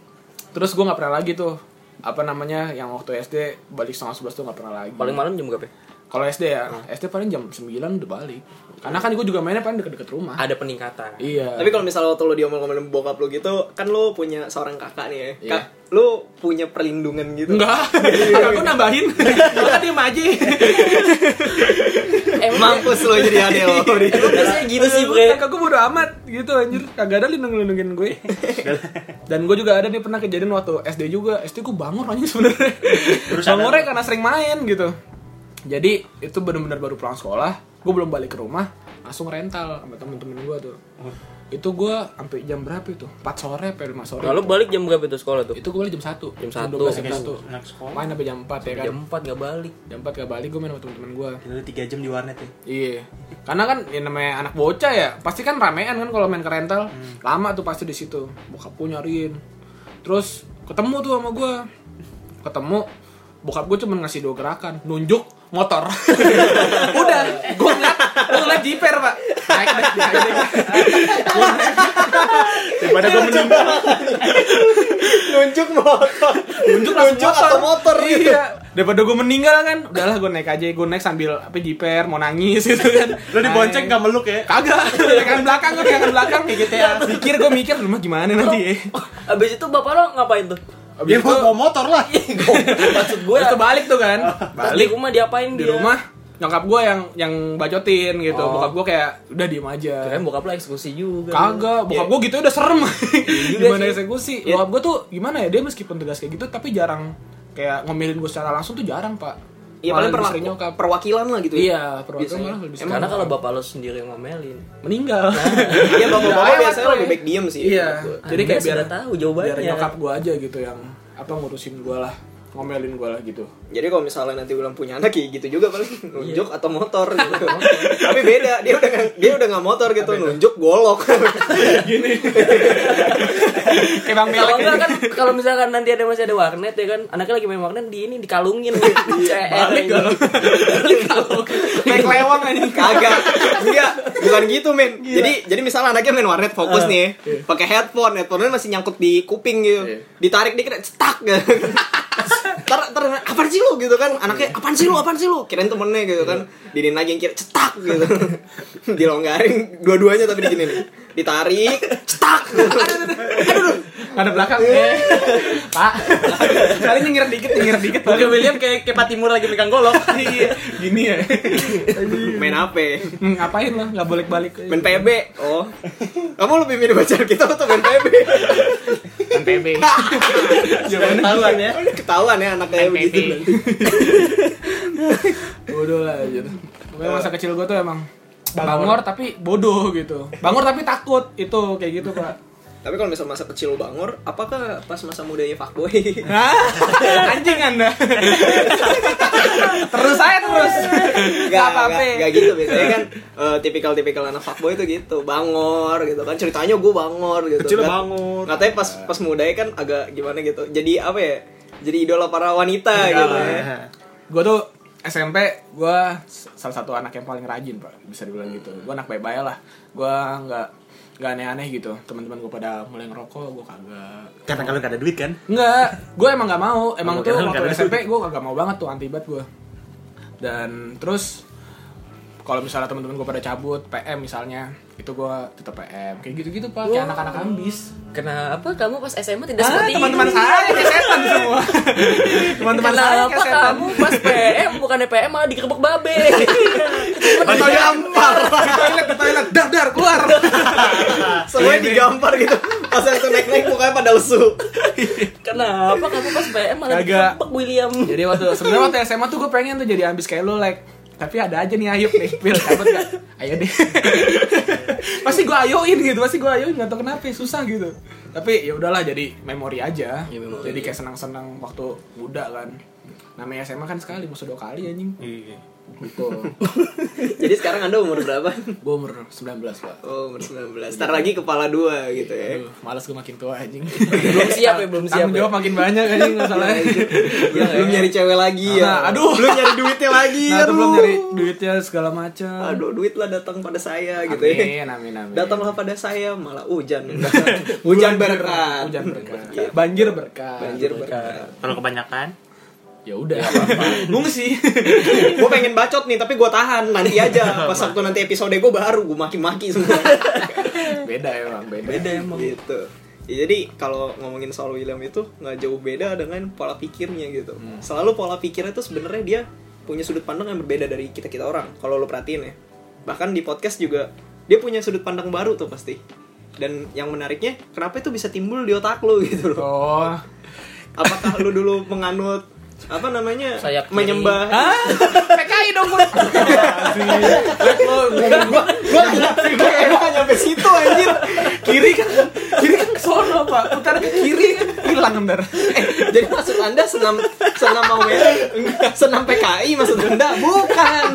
Speaker 3: Terus gue gak pernah lagi tuh Apa namanya yang waktu SD Balik setengah sebelas tuh gak pernah lagi
Speaker 4: Paling malam jam berapa? ya?
Speaker 3: Kalau SD ya SD paling jam 9 udah balik Karena kan gue juga mainnya paling deket-deket rumah
Speaker 4: Ada peningkatan.
Speaker 3: Iya
Speaker 1: Tapi kalau misalnya waktu lo diomel-omelin bokap lo gitu, kan lo punya seorang kakak nih ya.
Speaker 3: Iya.
Speaker 1: Kak, lo punya perlindungan gitu.
Speaker 3: Enggak, aku <laughs> nambahin. Kan dia Iya. aja.
Speaker 4: Emang
Speaker 1: Mampus lo jadi adek lo.
Speaker 4: Emang biasanya gitu sih, Bre.
Speaker 3: Kakak gue bodo amat gitu anjir. Kagak ada lindung-lindungin
Speaker 4: <laughs>
Speaker 3: gue. Dan gue juga ada nih pernah kejadian waktu SD juga. SD gue bangor anjing sebenarnya. Bangornya karena sering main gitu. Jadi itu benar-benar baru pulang sekolah, gue belum balik ke rumah, langsung rental sama temen-temen gue tuh.
Speaker 4: Oh.
Speaker 3: Itu gue sampai jam berapa itu? 4 sore sampai 5 sore.
Speaker 4: Lalu Nah, balik jam berapa itu sekolah tuh?
Speaker 3: itu gue balik jam 1.
Speaker 4: Jam
Speaker 3: 12
Speaker 4: 1.
Speaker 3: jam
Speaker 2: Anak-
Speaker 3: 1.
Speaker 2: Anak sekolah.
Speaker 3: Main sampai jam 4 ya kan.
Speaker 4: Jam 4 nggak balik.
Speaker 3: Jam 4 gak balik gue main sama temen-temen gue.
Speaker 2: Itu udah tiga jam di warnet ya.
Speaker 3: Iya. Karena kan yang namanya anak bocah ya, pasti kan ramean kan kalau main ke rental.
Speaker 1: Hmm.
Speaker 3: Lama tuh pasti di situ. Bokap gue nyariin. Terus ketemu tuh sama gue. Ketemu bokap gue cuman ngasih dua gerakan, nunjuk motor. <laughs> Udah, gue ngeliat, gue ngeliat jiper pak. Naik deh, naik deh. Gua naik.
Speaker 2: Daripada gue <laughs> meninggal.
Speaker 1: Nunjuk motor.
Speaker 3: Nunjuk langsung
Speaker 1: Nunjuk atau motor gitu.
Speaker 3: Iya. Daripada gue meninggal kan, udahlah gue naik aja, gue naik sambil apa jiper, mau nangis <laughs> gitu kan.
Speaker 2: Lo dibonceng
Speaker 3: Naik.
Speaker 2: gak meluk ya?
Speaker 3: Kagak, pegangan belakang gue pegangan belakang kayak gitu ya. Mikir gue mikir rumah gimana nanti ya.
Speaker 4: Oh. Abis itu bapak lo ngapain tuh?
Speaker 3: Abis
Speaker 2: Dia
Speaker 3: itu,
Speaker 2: mau bawa motor lah.
Speaker 4: Maksud gue
Speaker 3: itu balik tuh kan.
Speaker 4: balik
Speaker 3: Balik
Speaker 4: rumah diapain
Speaker 3: di
Speaker 4: dia?
Speaker 3: rumah nyokap gue yang yang bacotin gitu.
Speaker 4: Oh.
Speaker 3: Bokap gue kayak udah diem aja.
Speaker 4: Keren bokap lo eksekusi juga.
Speaker 3: Kagak, bokap gue gitu udah serem. gimana
Speaker 4: sih.
Speaker 3: eksekusi? Bokap gue tuh gimana ya dia meskipun tegas kayak gitu tapi jarang kayak ngomelin gue secara langsung tuh jarang pak.
Speaker 1: Iya paling
Speaker 3: Malah
Speaker 1: perwa-
Speaker 3: sering nyokap.
Speaker 1: perwakilan lah gitu. ya.
Speaker 3: Iya, perwakilan
Speaker 1: Biasanya.
Speaker 3: malah lebih sering.
Speaker 4: Karena kalau bapak lo sendiri yang ngomelin.
Speaker 3: meninggal.
Speaker 1: <laughs> Iya bapak-bapak
Speaker 3: Lewat
Speaker 1: biasanya
Speaker 3: tuh,
Speaker 1: lebih
Speaker 3: ya.
Speaker 1: baik diem sih.
Speaker 3: <laughs> Iya.
Speaker 1: menurut gua.
Speaker 3: Jadi kayak
Speaker 4: Anda
Speaker 3: biar
Speaker 4: sudah tahu jawabannya. Eh,
Speaker 3: biar nyokap gue aja gitu yang apa ngurusin gue lah, ngomelin gue lah gitu.
Speaker 1: Jadi kalau misalnya nanti ulang punya anak ya gitu juga paling
Speaker 3: Iya.
Speaker 1: nunjuk atau motor
Speaker 3: <laughs>
Speaker 1: gitu. Tapi beda, dia udah nggak- dia udah nggak motor gitu, nunjuk golok. <laughs>
Speaker 3: Kayak bang
Speaker 4: Kalau
Speaker 3: melek
Speaker 4: enggak kan kalau misalkan nanti ada masih ada warnet ya kan, anaknya lagi main warnet di ini
Speaker 3: <laughs>
Speaker 4: dikalungin gitu.
Speaker 3: Balik
Speaker 4: CR.
Speaker 3: Kayak lewang aja
Speaker 1: Iya. Kagak. Enggak, bukan gitu, men. Jadi jadi misalnya anaknya main warnet fokus nih, ya. pakai headphone, headphone-nya masih nyangkut di kuping gitu. <laughs>
Speaker 3: Iya.
Speaker 1: Ditarik dikit cetak. ntar ntar apaan sih lu gitu kan anaknya apaan sih lu apaan sih lu kirain temennya gitu kan dinin lagi yang kira cetak gitu dilonggarin dua-duanya tapi digini nih ditarik cetak gitu.
Speaker 3: ada belakang eh. <laughs> pak kali nyengir dikit nyengir dikit
Speaker 2: Bukan William kayak kayak Pak Timur lagi megang <laughs> golok. Iya.
Speaker 3: gini ya
Speaker 1: main apa
Speaker 3: Hmm, ngapain lo nggak bolak balik
Speaker 1: main PB oh kamu lebih mirip pacar kita atau main PB <laughs>
Speaker 3: PB
Speaker 2: Ketahuan ya.
Speaker 1: ketahuan ya anaknya
Speaker 2: Main
Speaker 1: begitu
Speaker 2: PB.
Speaker 1: nanti.
Speaker 3: bodoh lah anjir Pokoknya masa kecil gue tuh emang bangor tapi bodoh gitu bangor tapi takut itu kayak gitu pak
Speaker 1: tapi kalau misal masa kecil lu bangor apakah pas masa mudanya <laughs> fuckboy
Speaker 3: Hah? anjing anda terus saya terus
Speaker 1: Gak,
Speaker 3: nggak apa-apa
Speaker 1: gak, gak gitu biasanya kan eh, tipikal-tipikal anak fuckboy itu gitu bangor gitu kan ceritanya gue bangor gitu
Speaker 2: Kecil
Speaker 1: Gat-
Speaker 2: bangor.
Speaker 1: katanya pas pas mudanya kan agak gimana gitu jadi apa ya jadi idola para wanita gitu ya
Speaker 3: gue tuh SMP gue salah satu anak yang paling rajin pak bisa dibilang gitu gue anak baik-baik lah gue nggak nggak aneh-aneh gitu teman-teman gue pada mulai ngerokok gue kagak
Speaker 2: Karena kalau gak ada duit kan.
Speaker 3: Enggak, gue emang gak mau.
Speaker 2: Emang
Speaker 3: Emang tuh
Speaker 2: keren,
Speaker 3: waktu
Speaker 2: keren.
Speaker 3: SMP gue kagak mau banget tuh anti bat gue. Dan terus kalau misalnya teman-teman gue pada cabut PM misalnya, itu gue tetap PM. Kayak gitu-gitu pak, kayak anak-anak ambis.
Speaker 4: Kenapa kamu pas SMA tidak
Speaker 3: Ah,
Speaker 4: seperti
Speaker 3: teman-teman
Speaker 4: ini?
Speaker 3: saya kayak setan semua. teman-teman saya
Speaker 4: Kenapa
Speaker 3: kayak setan.
Speaker 4: kamu pas PM bukan PM malah digerebek
Speaker 3: <laughs>
Speaker 4: babe?
Speaker 1: Atau
Speaker 5: Iya.
Speaker 1: gampar
Speaker 3: Ke toilet, ke toilet, dar dar keluar.
Speaker 5: Iya,
Speaker 1: semuanya digampar gitu pas yang naik-naik mukanya pada usuh
Speaker 4: Kenapa kamu pas PM
Speaker 3: ya?
Speaker 4: malah
Speaker 3: Kagak.
Speaker 4: digerebek William?
Speaker 3: Jadi waktu sebenarnya waktu SMA tuh gue pengen tuh jadi ambis kayak lu like tapi ada aja nih ayub nih pil cabut gak? ayo deh <laughs> pasti gue ayoin gitu pasti gue ayoin nggak tau kenapa susah gitu tapi ya udahlah jadi memori aja
Speaker 4: Ya, memori.
Speaker 3: jadi kayak senang senang waktu muda kan namanya SMA kan sekali musuh dua kali anjing gitu
Speaker 1: jadi sekarang anda umur berapa
Speaker 3: gue umur 19 pak
Speaker 1: Oh, umur 19. Ntar lagi kepala dua gitu ya.
Speaker 3: Aduh, males gue makin tua <laughs> anjing
Speaker 4: <laughs> Belum siap ya, belum siap.
Speaker 3: Eh. tanggung jawab makin banyak anjing masalahnya
Speaker 1: Ya, <laughs> belum nyari cewek lagi
Speaker 3: Iya, Nah,
Speaker 1: ya.
Speaker 3: aduh.
Speaker 1: belum nyari
Speaker 3: <laughs>
Speaker 1: duitnya lagi.
Speaker 3: nah tuh
Speaker 1: Iya, aduh.
Speaker 3: belum nyari duitnya segala macam
Speaker 1: Aduh, duit lah datang pada saya gitu ya.
Speaker 3: amin amin amin
Speaker 1: Datanglah pada saya malah
Speaker 3: <laughs>
Speaker 1: hujan. hujan berkat.
Speaker 3: Hujan berkat. Banjir berkat.
Speaker 1: Banjir berkat.
Speaker 2: Kalau kebanyakan.
Speaker 3: Ya udah.
Speaker 1: <laughs>
Speaker 3: Ngungsi.
Speaker 1: gue pengen bacot nih tapi gue tahan nanti
Speaker 3: <laughs>
Speaker 1: aja pas waktu nanti episode gue baru gue maki-maki semua
Speaker 3: beda emang, beda.
Speaker 1: <laughs> gitu Ya, jadi kalau ngomongin soal William itu nggak jauh beda dengan pola pikirnya gitu
Speaker 3: Hmm.
Speaker 1: selalu pola pikirnya tuh sebenarnya dia punya sudut pandang yang berbeda dari kita kita orang kalau lo perhatiin ya bahkan di podcast juga dia punya sudut pandang baru tuh pasti dan yang menariknya kenapa itu bisa timbul di otak lo gitu loh
Speaker 3: Oh.
Speaker 1: apakah lo dulu menganut apa namanya
Speaker 4: Sayap kiri.
Speaker 1: menyembah
Speaker 3: PKI dong gue. Lo ngomong gua
Speaker 1: gua gua emang nyampe situ anjir
Speaker 3: kiri kan. Kiri kan ke sono, Pak. Putar ke kiri hilang ntar.
Speaker 1: Eh, <laughs> jadi maksud anda senam senam mau senam PKI maksud anda bukan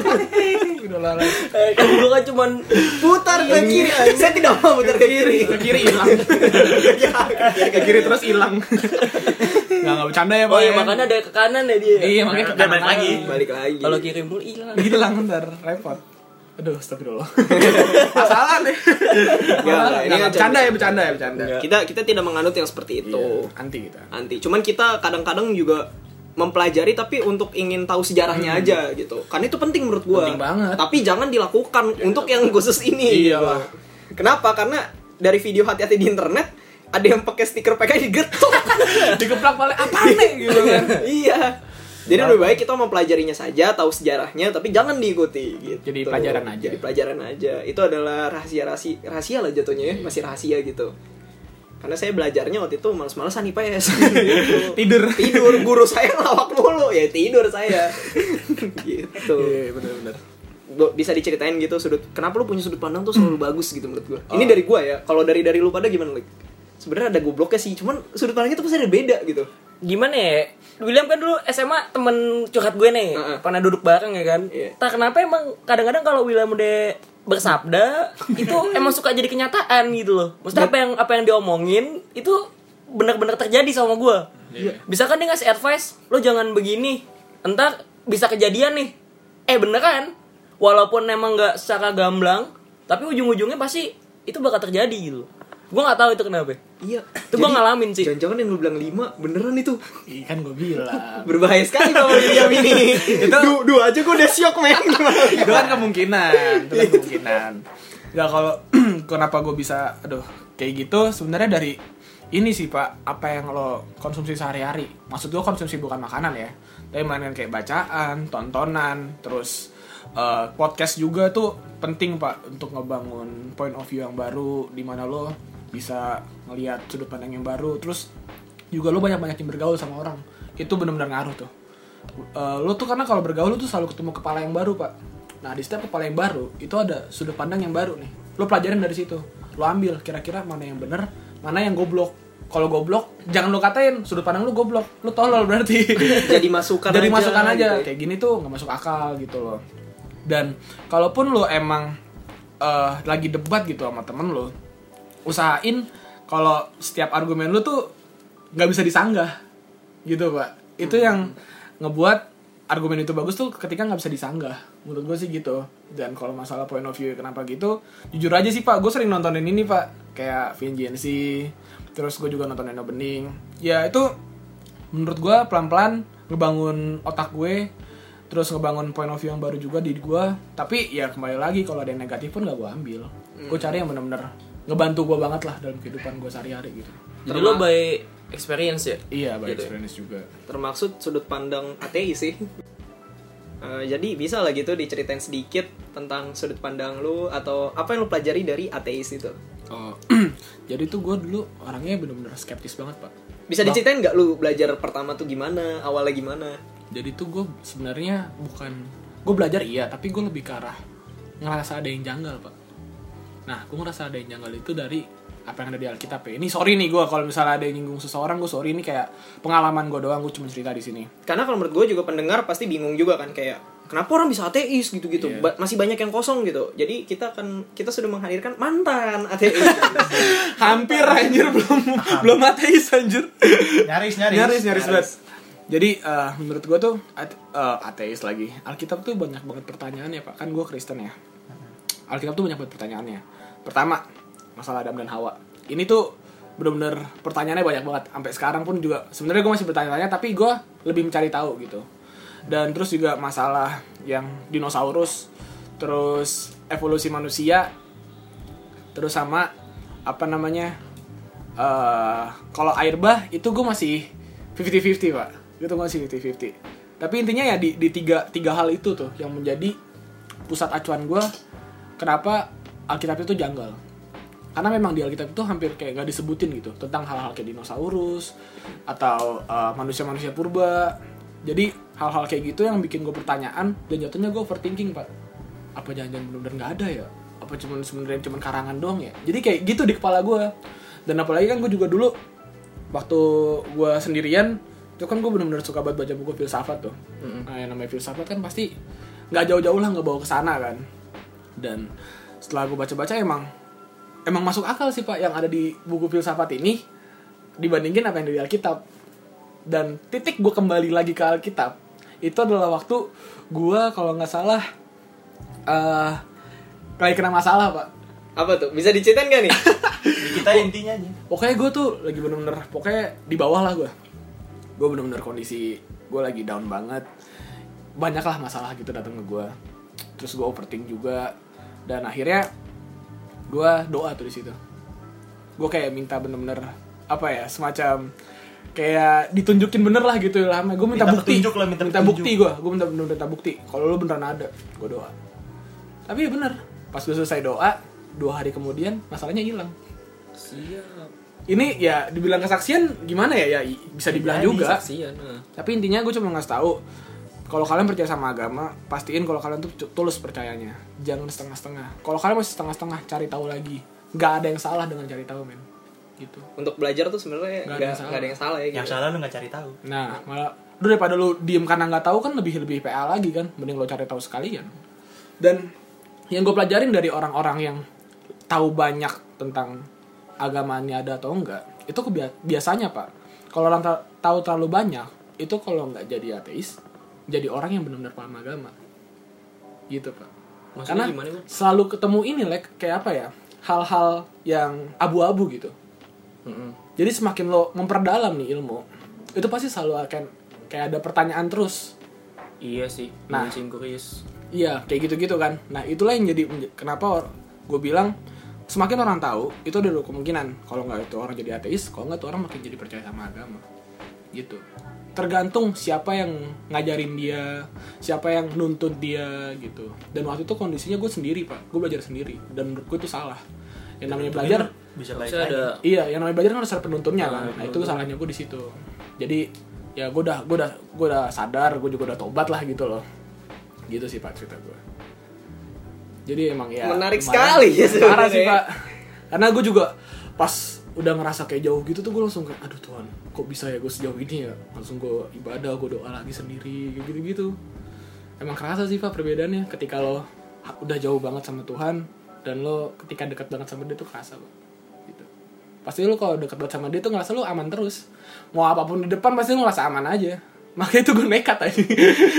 Speaker 3: Udah lah. lah.
Speaker 4: Eh, Kamu dulu kan cuman
Speaker 1: putar ke kiri saya tidak mau putar ke kiri
Speaker 3: Ke kiri hilang. Ya, Ke kiri terus hilang. Enggak enggak bercanda ya, Pak.
Speaker 4: Oh iya
Speaker 3: ya.
Speaker 4: makanya ada ke kanan ya dia.
Speaker 3: Iya, makanya ke
Speaker 2: Dan balik
Speaker 3: kanan.
Speaker 2: lagi.
Speaker 1: balik lagi
Speaker 4: Kalau kirim dulu hilang.
Speaker 3: hilang ntar repot aduh stop dulu masalah nih
Speaker 1: Ya,
Speaker 3: Masalah.
Speaker 1: ini
Speaker 3: Nggak,
Speaker 1: aja.
Speaker 3: bercanda ya bercanda ya bercanda
Speaker 1: kita kita tidak menganut yang seperti itu
Speaker 3: Iya, anti kita
Speaker 1: anti cuman kita kadang-kadang juga mempelajari tapi untuk ingin tahu sejarahnya aja gitu karena itu penting menurut gua
Speaker 3: Hmm. Penting banget.
Speaker 1: tapi jangan dilakukan untuk yang khusus ini
Speaker 3: Iya lah.
Speaker 1: kenapa karena dari video hati-hati di internet ada yang pakai stiker PKI
Speaker 3: <laughs>
Speaker 1: digetok
Speaker 3: dikeplak balik apa nih gitu kan
Speaker 1: <laughs> iya jadi lebih baik kita mempelajarinya saja tahu sejarahnya tapi jangan diikuti gitu
Speaker 3: Jadi pelajaran aja.
Speaker 1: jadi pelajaran aja itu adalah rahasia rahasia rahasia lah jatuhnya ya masih rahasia gitu karena saya belajarnya waktu itu males-malesan
Speaker 3: <laughs>
Speaker 1: IPS Gitu.
Speaker 3: Tidur.
Speaker 1: tidur guru saya lawak mulu ya tidur saya gitu
Speaker 3: iya benar-benar
Speaker 1: Bo- bisa diceritain gitu sudut kenapa lu punya sudut pandang tuh selalu bagus gitu menurut gua
Speaker 3: Oh.
Speaker 1: ini dari gua ya kalau dari dari lu pada gimana Lik? sebenarnya ada gobloknya sih cuman sudut pandangnya tuh pasti ada beda gitu
Speaker 4: Gimana ya? William kan dulu SMA temen curhat gue nih,
Speaker 1: Heeh.
Speaker 4: pernah duduk bareng ya kan.
Speaker 1: Iya.
Speaker 4: Tak kenapa emang kadang-kadang kalau William udah
Speaker 1: <laughs>
Speaker 4: bersabda itu emang suka jadi kenyataan gitu loh.
Speaker 1: Iya.
Speaker 4: Maksudnya apa yang apa yang diomongin itu benar-benar terjadi sama gue.
Speaker 1: Iya.
Speaker 4: Bisa kan dia ngasih advice, lo jangan begini, entar bisa kejadian nih. Eh bener kan? Walaupun emang nggak secara gamblang, tapi ujung-ujungnya pasti itu bakal terjadi gitu. Gue nggak tahu itu kenapa.
Speaker 1: Iya.
Speaker 4: Itu gua ngalamin sih.
Speaker 1: Jangan-jangan yang lu bilang 5 beneran itu.
Speaker 3: Iya kan gue bilang.
Speaker 1: Berbahaya sekali kalau William ini. <laughs> itu du, du aja gua udah syok men.
Speaker 3: itu kan kemungkinan, itu kan kemungkinan. Ya kalau <clears throat> kenapa gue bisa, aduh, kayak gitu sebenarnya dari ini sih pak, apa yang lo konsumsi sehari-hari. Maksud gue konsumsi bukan makanan ya, tapi melainkan kayak bacaan, tontonan, terus eh, podcast juga tuh penting pak untuk ngebangun point of view yang baru, di mana lo bisa ngelihat sudut pandang yang baru, terus juga lo banyak-banyakin bergaul sama orang. Itu benar-benar ngaruh tuh. Eh, lo tuh karena kalau bergaul lo tuh selalu ketemu kepala yang baru pak nah di setiap kepala yang baru itu ada sudut pandang yang baru nih lo pelajarin dari situ lo ambil kira-kira mana yang bener mana yang goblok kalau goblok jangan lo katain sudut pandang lo goblok lo tolol berarti
Speaker 1: <laughs> Jadi masukan
Speaker 3: jadi
Speaker 1: aja,
Speaker 3: masukan aja
Speaker 1: gitu ya.
Speaker 3: kayak gini tuh nggak masuk akal gitu loh dan kalaupun lo emang eh, lagi debat gitu sama temen lo usahain kalau setiap argumen lo tuh nggak bisa disanggah gitu pak itu yang ngebuat argumen itu bagus tuh ketika nggak bisa disanggah menurut gue sih gitu dan kalau masalah point of view kenapa gitu jujur aja sih pak gue sering nontonin ini pak kayak VNGNC terus gue juga nonton Eno Bening ya itu menurut gue pelan-pelan ngebangun otak gue terus ngebangun point of view yang baru juga di gue tapi ya kembali lagi kalau ada yang negatif pun gak gue ambil gue cari yang bener-bener ngebantu gue banget lah dalam kehidupan gue sehari-hari gitu
Speaker 4: Jadi lo by experience ya.
Speaker 3: iya by
Speaker 4: Gitu.
Speaker 3: experience juga
Speaker 1: <laughs> termaksud sudut pandang ateis sih. Eh, jadi bisa lah gitu diceritain sedikit tentang sudut pandang lu atau apa yang lu pelajari dari ateis itu.
Speaker 3: oh. <clears throat> jadi tuh gue dulu orangnya bener-bener skeptis banget pak
Speaker 1: Bisa diceritain nggak lu belajar pertama tuh gimana, awalnya gimana?
Speaker 3: jadi tuh gue sebenarnya bukan gue belajar iya tapi gue lebih ke arah ngerasa ada yang janggal pak nah gue ngerasa ada yang janggal itu dari apa yang ada di Alkitab ya ini sorry nih gue kalau misalnya ada yang nyinggung seseorang gue sorry ini kayak pengalaman gue doang gue cuma cerita di sini
Speaker 1: Karena kalau menurut gue juga pendengar pasti bingung juga kan kayak kenapa orang bisa ateis gitu-gitu.
Speaker 3: Iya.
Speaker 1: Ba- masih banyak yang kosong gitu. Jadi kita akan kita sudah menghadirkan mantan ateis. <laughs>
Speaker 3: hampir anjir belum belum ateis anjir
Speaker 5: Nyaris, nyaris.
Speaker 3: nyaris nyaris banget jadi eh, menurut gue tuh at- eh, ateis lagi Alkitab tuh banyak banget pertanyaannya pak kan gue Kristen ya Alkitab tuh banyak banget pertanyaannya pertama masalah Adam dan Hawa ini tuh bener-bener pertanyaannya banyak banget sampai sekarang pun juga sebenarnya gue masih bertanya-tanya tapi gue lebih mencari tahu gitu dan terus juga masalah yang dinosaurus terus evolusi manusia terus sama apa namanya eh kalau air bah itu gue masih 50-50 pak itu gue masih 50-50 tapi intinya ya di, di tiga, tiga hal itu tuh yang menjadi pusat acuan gue kenapa Alkitab itu janggal karena memang di Alkitab itu hampir kayak gak disebutin gitu tentang hal-hal kayak dinosaurus atau eh, manusia-manusia purba jadi hal-hal kayak gitu yang bikin gue pertanyaan dan jatuhnya gue overthinking pak apa jangan-jangan benar-benar nggak ada ya apa cuman sebenarnya cuman karangan doang ya jadi kayak gitu di kepala gue dan apalagi kan gue juga dulu waktu gue sendirian itu kan gue benar-benar suka banget baca buku filsafat tuh nah yang namanya filsafat kan pasti nggak jauh-jauh lah nggak bawa ke sana kan dan setelah gue baca-baca emang emang masuk akal sih pak yang ada di buku filsafat ini dibandingin apa yang ada di Alkitab dan titik gue kembali lagi ke Alkitab itu adalah waktu gue kalau nggak salah eh lagi kena masalah pak
Speaker 1: apa tuh? Bisa diceritain gak nih?
Speaker 5: Kita intinya aja.
Speaker 3: pokoknya gue tuh lagi bener-bener pokoknya di bawah lah gue gue bener-bener kondisi gue lagi down banget banyak lah masalah gitu datang ke gue terus gue overthink juga dan akhirnya gue doa tuh di situ gue kayak minta bener-bener apa ya semacam kayak ditunjukin bener lah gitu lah gue minta,
Speaker 5: Minta
Speaker 3: bukti
Speaker 5: petunjuk lah, minta petunjuk.
Speaker 3: bukti gue gue minta bener-bener minta bukti kalau lu beneran ada gue doa tapi ya bener pas gue selesai doa dua hari kemudian masalahnya hilang
Speaker 4: Siap.
Speaker 3: ini ya dibilang kesaksian gimana ya ya i- bisa ya. dibilang
Speaker 5: Jadi
Speaker 3: juga
Speaker 4: Siap. Nah.
Speaker 3: tapi intinya gue cuma ngasih tahu kalau kalian percaya sama agama pastiin kalau kalian tuh cu- tulus percayanya jangan setengah-setengah kalau kalian masih setengah-setengah cari tahu lagi nggak ada yang salah dengan cari tahu men gitu
Speaker 1: Untuk belajar tuh sebenarnya
Speaker 3: Nggak ada
Speaker 1: nggak
Speaker 3: yang salah.
Speaker 1: nggak ada yang salah ya gitu.
Speaker 5: Yang salah lu nggak cari tahu.
Speaker 3: nah malah lu daripada lu diem karena nggak tahu kan lebih lebih PA lagi kan mending lo cari tahu sekalian dan yang gue pelajarin dari orang-orang yang tahu banyak tentang agamanya ada atau enggak itu kebia- biasanya pak kalau orang ta- tahu terlalu banyak itu kalau nggak jadi ateis jadi orang yang benar-benar paham agama gitu pak
Speaker 4: Maksudnya
Speaker 3: karena
Speaker 4: gimana, Bang?
Speaker 3: selalu ketemu ini lek kayak apa ya hal-hal yang abu-abu gitu. Jadi semakin lo memperdalam nih ilmu, itu pasti selalu akan kayak ada pertanyaan terus.
Speaker 4: Iya sih,
Speaker 3: Nah.
Speaker 4: mancing kurius.
Speaker 3: Iya, kayak gitu-gitu kan. Nah, itulah yang jadi menj- kenapa gue bilang semakin orang tahu, itu ada dua kemungkinan. Kalau nggak itu orang jadi ateis, kalau nggak itu orang makin jadi percaya sama agama. Gitu. Tergantung siapa yang ngajarin dia, siapa yang nuntut dia gitu. Dan waktu itu kondisinya gue sendiri pak, gue belajar sendiri. Dan menurut gue itu salah. Yang namanya belajar,
Speaker 5: bisa balik
Speaker 4: Saya
Speaker 5: lagi.
Speaker 4: ada
Speaker 3: iya, yang namanya belajar kan harus ada penuntunnya
Speaker 4: Nah,
Speaker 3: kan. Nah, itu
Speaker 4: betul.
Speaker 3: salahnya gue di situ. Jadi ya gue udah gue udah gue udah sadar, gue juga udah tobat lah gitu loh. Gitu sih pak cerita gue. Jadi emang ya
Speaker 1: Menarik
Speaker 3: lumayan.
Speaker 1: sekali ya
Speaker 3: Parah
Speaker 1: sebenarnya.
Speaker 3: sih pak. Karena gue juga pas udah ngerasa kayak jauh gitu tuh gue langsung kayak aduh Tuhan kok bisa ya gue sejauh ini ya langsung gue ibadah gue doa lagi sendiri kayak gitu gitu emang kerasa sih pak perbedaannya ketika lo ha- udah jauh banget sama Tuhan dan lo ketika dekat banget sama dia tuh kerasa pak gitu pasti lo kalau dekat banget sama dia tuh ngerasa lo aman terus mau apapun di depan pasti lo ngerasa aman aja makanya itu gue nekat aja <laughs>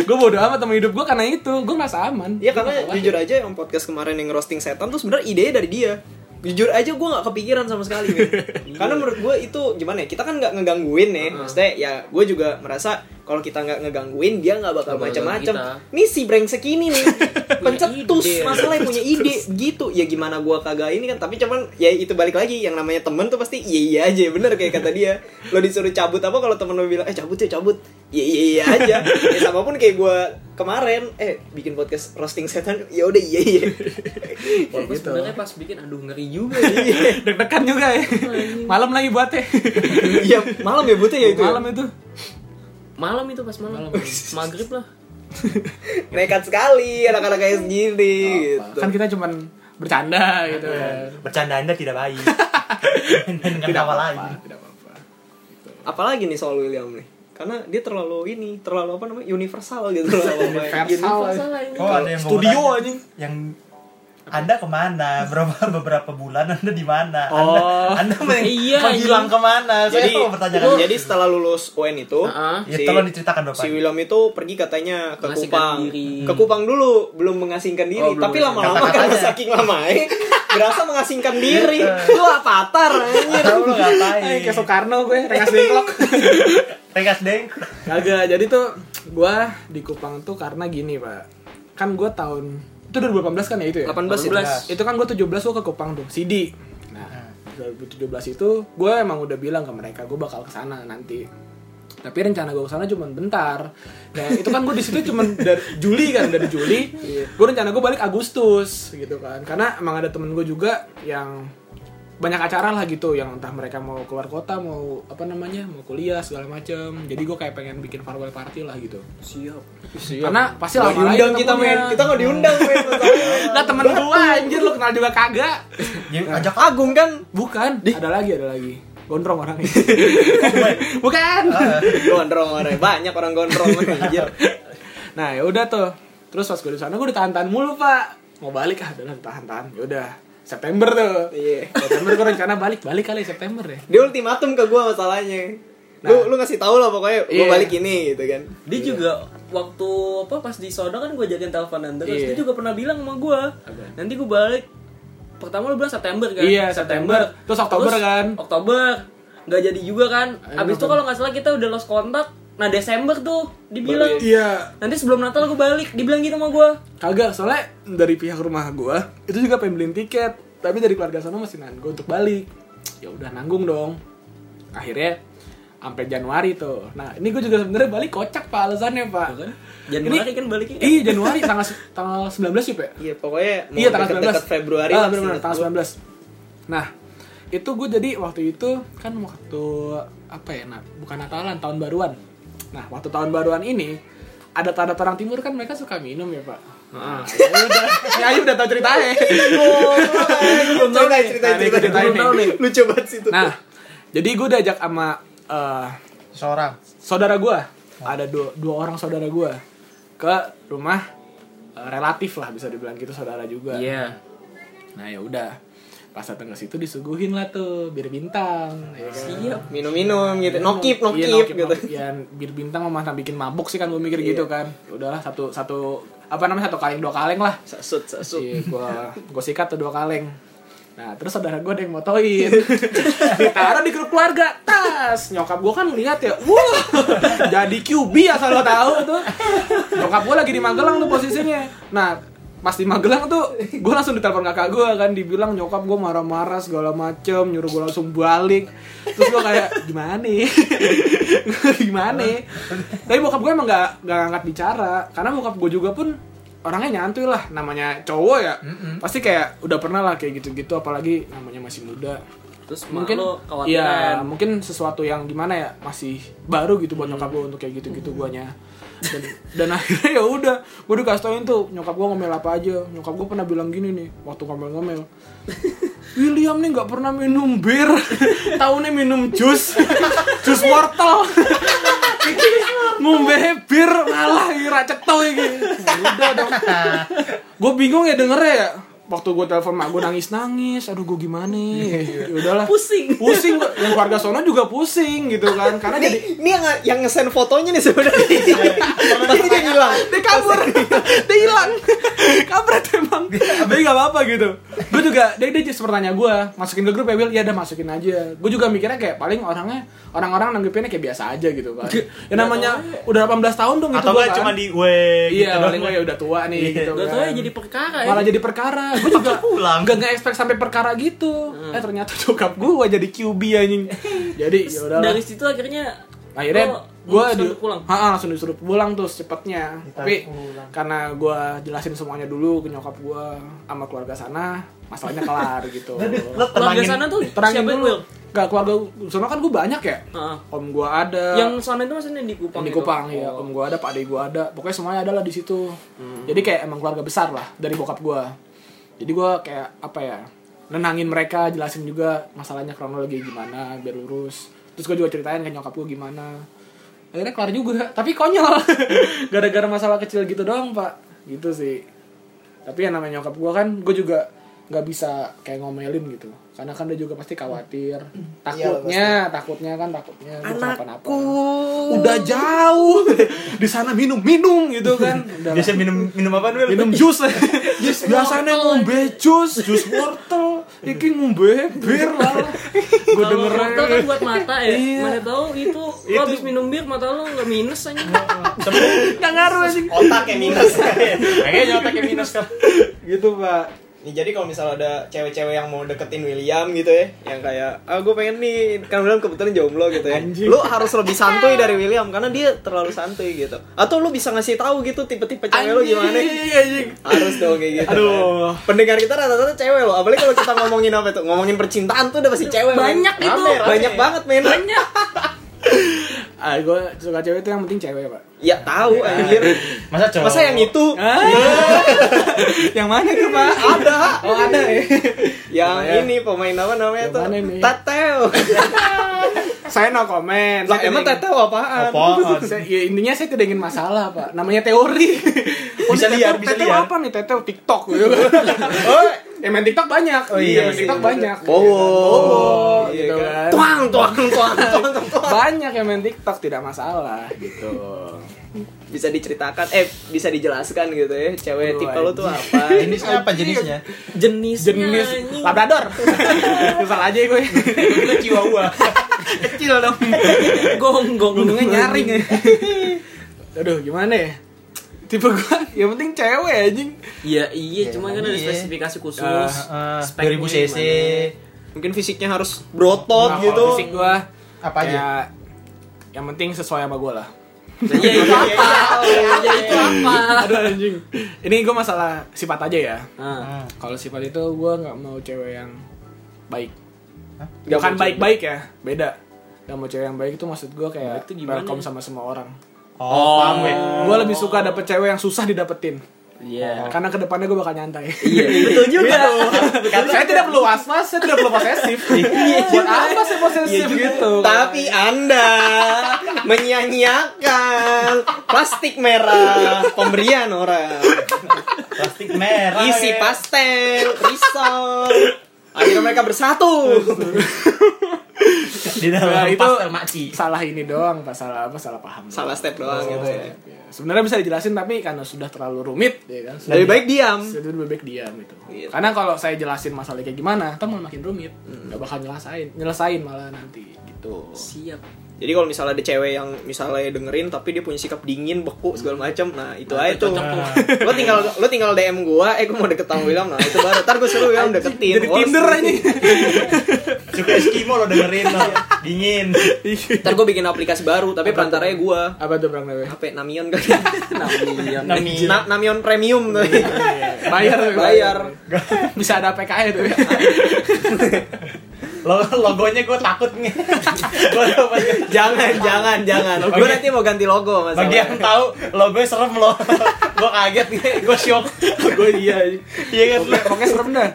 Speaker 3: gue bodo amat sama hidup gue karena itu gue ngerasa aman
Speaker 1: Iya
Speaker 3: Gua nggak
Speaker 1: karena
Speaker 3: khawatir.
Speaker 1: jujur aja yang podcast kemarin yang roasting setan tuh sebenarnya idenya dari dia. Jujur aja gue nggak kepikiran sama sekali. men. karena menurut gue itu gimana ya? Kita kan nggak ngegangguin ya. Maksudnya ya gue juga merasa kalau kita nggak ngegangguin dia nggak bakal
Speaker 4: Nggak bakal
Speaker 1: macam-macam.
Speaker 4: ganggu
Speaker 1: Nih si brengsek ini
Speaker 3: <laughs>
Speaker 1: nih pencetus
Speaker 4: ide.
Speaker 1: masalahnya punya ide gitu. Ya gimana gue kagak ini kan? Tapi cuman ya itu balik lagi yang namanya temen tuh pasti iya iya aja bener kayak kata dia. Lo disuruh cabut apa kalau temen lo bilang eh cabut ya cabut. Iya iya iya aja. Ya sama pun kayak gue kemarin eh bikin podcast roasting setan ya udah iya
Speaker 3: <laughs>
Speaker 1: iya.
Speaker 4: Walaupun
Speaker 3: gitu.
Speaker 4: sebenarnya pas bikin aduh ngeri juga
Speaker 3: <laughs>
Speaker 4: ya.
Speaker 3: deg-degan juga ya malam lagi buat ya <laughs>
Speaker 1: Iya malam ya butuh ya itu. ya?
Speaker 3: malam itu
Speaker 4: malam itu pas malam. Maghrib lah.
Speaker 1: Nekat sekali anak-anak kayak segini gitu.
Speaker 3: kan kita cuman bercanda gitu kan
Speaker 5: Bercanda anda tidak baik. <laughs> Dan
Speaker 3: Tidak
Speaker 5: kenapa lain?
Speaker 3: apa-apa, tidak apa-apa
Speaker 1: Apalagi nih soal William nih. Karena dia terlalu ini, terlalu apa namanya? universal gitu loh apa
Speaker 3: Universal. Oh,
Speaker 4: Masalah ini.
Speaker 5: Oh, ada yang mau
Speaker 3: Studio
Speaker 5: bertanya.
Speaker 3: anjing.
Speaker 5: Yang anda kemana? Berapa beberapa bulan Anda di mana? Anda,
Speaker 3: Oh.
Speaker 5: anda men-
Speaker 4: Iya,
Speaker 5: menghilang
Speaker 4: anjing.
Speaker 5: kemana? Saya
Speaker 1: Jadi,
Speaker 5: mau bertanya kan.
Speaker 1: jadi setelah lulus UN itu,
Speaker 4: Ah,
Speaker 5: Ya, tolong diceritakan Bapak.
Speaker 1: si William itu pergi katanya ke
Speaker 4: Mengasingkan
Speaker 1: Kupang.
Speaker 4: diri.
Speaker 1: Ke Kupang dulu, belum mengasingkan diri,
Speaker 4: Oh, belum
Speaker 1: tapi lama-lama
Speaker 5: mengasingkan.
Speaker 1: karena saking lamanya <laughs> berasa mengasingkan diri. <laughs> Lu avatar anjir.
Speaker 5: Tahu lu ngapain?
Speaker 3: Eh, kayak Soekarno gue, rengas dengklok.
Speaker 5: Rekas deng.
Speaker 3: <laughs> Kagak, jadi tuh gue di Kupang tuh karena gini, Pak. Kan gue tahun, itu 2018 kan ya itu ya?
Speaker 1: 18 ya?
Speaker 4: 18.
Speaker 3: Itu kan gue 17 gue ke Kupang tuh, CD. Nah, 2017 itu gue emang udah bilang ke mereka, gue bakal ke sana nanti. Tapi rencana gue kesana cuma bentar. Nah, itu kan gue di situ cuma dari Juli kan, dari Juli.
Speaker 1: Iya.
Speaker 3: Gue rencana gue balik Agustus gitu kan. Karena emang ada temen gue juga yang banyak acara lah gitu yang entah mereka mau keluar kota mau apa namanya mau kuliah segala macem jadi gue kayak pengen bikin farewell party lah gitu
Speaker 4: Siap.
Speaker 3: karena pasti
Speaker 1: Nggak
Speaker 3: lama
Speaker 1: diundang kita men, kita nggak diundang men. masalahnya.
Speaker 3: lah temen gue anjir lu kenal juga kagak
Speaker 5: Ya, ajak
Speaker 1: Agung kan
Speaker 3: bukan ada lagi ada lagi gondrong orangnya bukan
Speaker 1: gondrong orang banyak orang gondrong anjir.
Speaker 3: nah ya udah tuh terus pas gue di sana gue ditahan-tahan mulu pak mau balik ah udah tahan-tahan ya udah September tuh
Speaker 1: Iya.
Speaker 3: September gue rencana balik balik kali September ya
Speaker 1: Dia ultimatum ke gua masalahnya. Lu lu ngasih tahu lah pokoknya gua
Speaker 3: Iya.
Speaker 1: balik ini gitu kan.
Speaker 4: Dia juga waktu apa pas di sono kan gue jagain teleponan terus
Speaker 3: Iya.
Speaker 4: dia juga pernah bilang sama gue nanti gue balik pertama lu bilang September kan
Speaker 3: Iya, September. Terus Oktober kan?
Speaker 4: Oktober nggak jadi juga kan
Speaker 3: Ayo,
Speaker 4: abis itu
Speaker 3: November.
Speaker 4: kalau nggak salah kita udah lost kontak nah Desember tuh dibilang
Speaker 3: iya
Speaker 4: nanti sebelum Natal gue balik dibilang gitu sama gue
Speaker 3: Kagak, soalnya dari pihak rumah gua itu juga pengen beliin tiket, tapi dari keluarga sana masih nahan gua untuk balik. Ya udah nanggung dong. Akhirnya sampai Januari tuh. Nah, ini gua juga sebenarnya balik kocak Pak alasannya, Pak.
Speaker 4: Januari
Speaker 3: Ini-
Speaker 4: kan baliknya
Speaker 3: Iya, Januari tanggal tanggal 19 sih, Pak.
Speaker 1: Iya pokoknya mau
Speaker 3: Iya, tanggal 19.
Speaker 1: deket-deket Februari.
Speaker 3: Ah,
Speaker 1: lah,
Speaker 3: benar benar
Speaker 1: seingat
Speaker 3: tanggal
Speaker 1: gua.
Speaker 3: 19. Nah, itu gue jadi waktu itu kan waktu apa ya, nah, bukan Natalan, tahun baruan. Nah, waktu tahun baruan ini ada tanda orang timur kan mereka suka minum ya, Pak.
Speaker 1: Ah.
Speaker 3: Nah, <laughs> ya udah, ya Ayu udah tahu ceritanya.
Speaker 1: Belum tahu nih, ceritain,
Speaker 3: Nah, ini
Speaker 1: ceritain.
Speaker 3: ceritain
Speaker 1: Belum tahu
Speaker 3: nih.
Speaker 1: nih. Lucu banget sih itu.
Speaker 3: Nah, jadi gue diajak sama eh,
Speaker 5: seorang.
Speaker 3: saudara gue ada dua, dua orang saudara gue ke rumah eh, relatif lah bisa dibilang gitu saudara juga
Speaker 4: iya
Speaker 3: Nah ya udah pas datang ke situ disuguhin lah tuh bir bintang. Ya kan?
Speaker 4: siap
Speaker 1: minum-minum gitu. Nokip,
Speaker 3: Iya,
Speaker 1: nokip gitu. Iya.
Speaker 3: nokip. Ya, bir bintang mah masa bikin mabuk sih kan gue mikir gitu kan. Udahlah satu satu apa namanya satu kaleng dua kaleng lah.
Speaker 1: Iya. Sasut, sasut.
Speaker 3: Si gua gua sikat tuh dua kaleng. Nah, terus saudara gue ada yang motoin. Ditaruh di grup keluarga. Tas. Nyokap gue kan lihat ya. Wah. Jadi QB asal lo tahu tuh. Nyokap gue lagi di Magelang tuh posisinya. Nah, pas di Magelang tuh gue langsung ditelepon kakak gue kan dibilang nyokap gue marah-marah segala macem nyuruh gue langsung balik terus gue kayak gimana nih? <laughs> gimana tapi bokap gue emang gak, nggak ngangkat bicara karena bokap gue juga pun orangnya nyantui lah namanya cowok ya pasti kayak udah pernah lah kayak gitu-gitu apalagi namanya masih muda
Speaker 4: Terus
Speaker 3: mungkin
Speaker 4: mungkin lo
Speaker 3: ya
Speaker 4: khawatiran.
Speaker 3: mungkin sesuatu yang gimana ya masih baru gitu buat nyokap gue untuk kayak gitu-gitu guanya dan, dan akhirnya ya udah gue udah kasih tauin tuh nyokap gue ngomel apa aja nyokap gue pernah bilang gini nih waktu ngomel-ngomel William nih nggak pernah minum bir <laughs> tahunnya minum jus <laughs> jus wortel Iki ngombe bir malah ira cetau iki Ya udah dong gue bingung ya dengernya ya waktu gue telepon mak gue nangis nangis aduh gue gimana ya udahlah
Speaker 4: Pusing.
Speaker 3: pusing gua. yang keluarga sono juga pusing gitu kan karena
Speaker 1: Ini,
Speaker 3: jadi
Speaker 1: ini yang yang ngesen fotonya nih sebenarnya. <laughs> Pasti dia bilang,
Speaker 3: dia <laughs> kabur dia hilang kampret emang tapi gak apa-apa gitu gue juga dia dia just bertanya gue masukin ke grup ya Will ya udah masukin aja gue juga mikirnya kayak paling orangnya orang-orang nanggepinnya kayak biasa aja gitu kan ya namanya udah 18 tahun dong
Speaker 5: Atau
Speaker 3: gua
Speaker 5: nggak
Speaker 3: kan.
Speaker 5: cuma di gue
Speaker 3: iya
Speaker 5: gitu doang.
Speaker 3: paling gue ya udah tua nih
Speaker 5: Iya.
Speaker 3: gitu
Speaker 4: Gak
Speaker 3: kan.
Speaker 4: tau ya jadi perkara ya.
Speaker 3: malah jadi perkara gue juga
Speaker 5: pulang.
Speaker 3: nggak nggak expect sampai perkara gitu eh ternyata cokap gue jadi QB anjing jadi ya udah
Speaker 4: Dari situ akhirnya
Speaker 3: akhirnya
Speaker 4: lo
Speaker 3: gue
Speaker 4: memutuskan
Speaker 3: di,
Speaker 4: untuk pulang.
Speaker 3: Ha, ha, langsung disuruh pulang tuh secepatnya
Speaker 5: Ditarik
Speaker 3: tapi
Speaker 5: pulang.
Speaker 3: karena gue jelasin semuanya dulu ke nyokap gue sama keluarga sana masalahnya kelar gitu
Speaker 5: Lo
Speaker 4: Keluarga
Speaker 5: tenangin.
Speaker 4: sana tuh
Speaker 3: terangin
Speaker 4: siapa
Speaker 3: dulu
Speaker 4: dulu.
Speaker 3: nggak keluarga sana kan gue banyak ya
Speaker 4: Heeh.
Speaker 3: om gue ada
Speaker 4: Yang sana itu maksudnya di Kupang.
Speaker 3: di
Speaker 4: gitu?
Speaker 3: Kupang ya om gue ada pak ade gue ada pokoknya semuanya ada lah di situ
Speaker 4: Hmm.
Speaker 3: jadi kayak emang keluarga besar lah dari bokap gue jadi gue kayak apa ya nenangin mereka jelasin juga masalahnya kronologi gimana biar lurus terus gue juga ceritain ke nyokap gue gimana akhirnya kelar juga tapi konyol <laughs> gara-gara masalah kecil gitu doang pak gitu sih tapi yang namanya nyokap gue kan gue juga nggak bisa kayak ngomelin gitu karena kan dia juga pasti khawatir takutnya
Speaker 4: Iya,
Speaker 3: takutnya kan takutnya dia kenapa-napa udah jauh <laughs> di sana minum minum gitu kan Udah lah.
Speaker 5: Biasa minum minum apa Wil?
Speaker 3: minum jus <laughs> jus biasanya ngombe jus jus wortel iki ngombe bir <laughs> lah gue
Speaker 4: Kalau
Speaker 3: denger
Speaker 4: wortel kan buat mata ya.
Speaker 3: Iya.
Speaker 4: Mana tahu itu lo habis minum bir mata lo nggak minus aja.
Speaker 3: nggak ngaruh anjing
Speaker 1: otak yang minus.
Speaker 2: Kayaknya nyotak yang minus kan.
Speaker 3: gitu pak
Speaker 1: Nih, jadi kalau misal ada cewek-cewek yang mau deketin William gitu ya, yang kayak, ah gue pengen nih, kan William kebetulan jomblo gitu ya.
Speaker 3: Anjing.
Speaker 1: Lu harus lebih santuy <laughs> dari William karena dia terlalu santuy gitu. Atau lu bisa ngasih tahu gitu tipe-tipe cewek lu gimana?
Speaker 3: Anjing, anjing.
Speaker 1: Harus dong kayak gitu.
Speaker 3: Aduh.
Speaker 1: kan. Pendengar kita rata-rata cewek loh. Apalagi kalau kita ngomongin apa tuh? Ngomongin percintaan tuh udah pasti cewek. men.
Speaker 4: Banyak itu.
Speaker 1: Rame, rame. Banyak banget men.
Speaker 4: Banyak.
Speaker 3: ah gue suka cewek itu yang penting cewek pak
Speaker 1: Ya tahu anjir.
Speaker 5: Masa cowok?
Speaker 1: Masa yang itu?
Speaker 3: <laughs> yang mana tuh pak
Speaker 1: Ada.
Speaker 3: oh ada ya
Speaker 1: Yang ini pemain apa namanya
Speaker 3: Yang
Speaker 1: tuh?
Speaker 3: mana ini?
Speaker 1: Tateo.
Speaker 3: saya no comment
Speaker 1: Lah
Speaker 3: Saya
Speaker 1: emang
Speaker 3: tidak-
Speaker 1: Tateo apaan?
Speaker 5: Apaan?
Speaker 3: <laughs> Saya- ya, intinya saya tidak ingin masalah pak namanya teori oh,
Speaker 5: Bisa
Speaker 3: ini
Speaker 5: liar,
Speaker 3: teteo-
Speaker 5: bisa
Speaker 3: teteo
Speaker 5: liar.
Speaker 3: apa nih teteo tiktok gitu <laughs> oh ya main tiktok banyak oh,
Speaker 1: iya
Speaker 3: main
Speaker 1: sih.
Speaker 3: tiktok banyak Iya kan?
Speaker 1: Bowo.
Speaker 3: Bowo,
Speaker 1: Iya
Speaker 3: gitu
Speaker 1: kan.
Speaker 3: kan.
Speaker 1: Tuang, tuang, tuang, tuang, tuang.
Speaker 3: banyak yang main tiktok tidak masalah gitu
Speaker 1: Bisa diceritakan, eh bisa dijelaskan gitu ya, cewek
Speaker 3: Aduh,
Speaker 1: tipe lu tuh apa?
Speaker 5: <laughs> Jenisnya apa jenisnya?
Speaker 4: Jenis.
Speaker 3: jenis
Speaker 1: <laughs>
Speaker 3: labrador salah aja gue
Speaker 5: Itu Chihuahua.
Speaker 3: kecil dong
Speaker 4: Gonggong.
Speaker 3: untungnya nyaring
Speaker 4: eh.
Speaker 3: ya aduh gimana ya tipe gue yang penting cewek anjing
Speaker 4: Iya iya, cuma kan ada
Speaker 5: iya.
Speaker 4: spesifikasi khusus.
Speaker 3: Ah,
Speaker 5: Heeh,
Speaker 4: Speknya
Speaker 5: 2000 cc.
Speaker 1: Mungkin fisiknya harus brotot
Speaker 3: Nah, kalau
Speaker 1: gitu.
Speaker 3: fisik gue
Speaker 5: Apa aja?
Speaker 3: kayak yang penting sesuai sama gue lah
Speaker 4: gimana. Iya itu apa? Iya itu apa?
Speaker 3: <laughs> Aduh anjing. Ini gue masalah sifat aja ya.
Speaker 4: Nah,
Speaker 5: Heeh.
Speaker 3: Kalau sifat itu gue nggak mau cewek yang baik.
Speaker 1: Nggak
Speaker 3: Bukan
Speaker 1: mau
Speaker 3: baik-baik ya, beda. Gak mau cewek yang baik itu maksud gue kayak
Speaker 4: Baik itu gimana
Speaker 3: welcome
Speaker 4: ya?
Speaker 3: sama semua orang.
Speaker 5: Oh, paham gue.
Speaker 3: Gue lebih suka dapet cewek yang susah didapetin.
Speaker 4: Iya.
Speaker 3: Karena kedepannya gue bakal nyantai.
Speaker 4: Iya.
Speaker 1: Betul juga tuh.
Speaker 3: <laughs> saya tidak perlu was-was, saya tidak perlu
Speaker 1: <laughs>
Speaker 3: posesif.
Speaker 1: Iya.
Speaker 3: Buat apa saya posesif gitu?
Speaker 1: Tapi Anda menyanyiakan plastik merah pemberian orang.
Speaker 5: Plastik merah.
Speaker 1: Isi
Speaker 3: Iya.
Speaker 5: ya.
Speaker 1: pastel, risol. Akhirnya mereka bersatu.
Speaker 5: di dalam
Speaker 4: Iya.
Speaker 3: Nah, itu
Speaker 5: pastel maci
Speaker 3: salah ini doang, pak salah apa salah paham.
Speaker 1: Salah
Speaker 3: doang.
Speaker 1: step doang gitu ya.
Speaker 3: Ya, Sebenarnya bisa dijelasin tapi karena sudah terlalu rumit, ya kan.
Speaker 1: Lebih baik diam.
Speaker 3: Jadi lebih baik diam gitu.
Speaker 1: Iya.
Speaker 3: Karena kalau saya jelasin masalahnya kayak gimana, kan malah makin rumit.
Speaker 1: Hmm.
Speaker 3: Nggak bakal nyelesain, nyelesain malah nanti gitu.
Speaker 4: Siap.
Speaker 1: Jadi kalau misalnya ada cewek yang misalnya dengerin tapi dia punya sikap dingin, beku segala macam, nah itu aja tuh. Lo tinggal lo tinggal DM gua, eh gua mau deket sama William, nah itu baru. Ntar gua suruh William deketin.
Speaker 3: Jadi
Speaker 1: Wah,
Speaker 3: Tinder
Speaker 1: seru.
Speaker 3: ini.
Speaker 5: suka Eskimo lo dengerin lo dingin
Speaker 1: Ntar gua bikin aplikasi baru, tapi perantaranya gua.
Speaker 3: Apa tuh Bang Dewe?
Speaker 1: HP Namion kan?
Speaker 5: Nami
Speaker 1: Na- Namion premium tuh.
Speaker 3: Bayar,
Speaker 1: Bayar.
Speaker 3: <laughs> Bisa ada PKI tuh.
Speaker 5: lo logonya gue takut nih gue banyak
Speaker 1: <laughs> jangan, jangan, jangan. Gua
Speaker 5: Bagi-
Speaker 1: nanti mau ganti logo mas.
Speaker 5: bagi yang tahu logonya serem lo gue kaget nih gue shock
Speaker 3: Gue iya.
Speaker 5: iya kan lo
Speaker 3: Pokoknya pokoknya serem dah.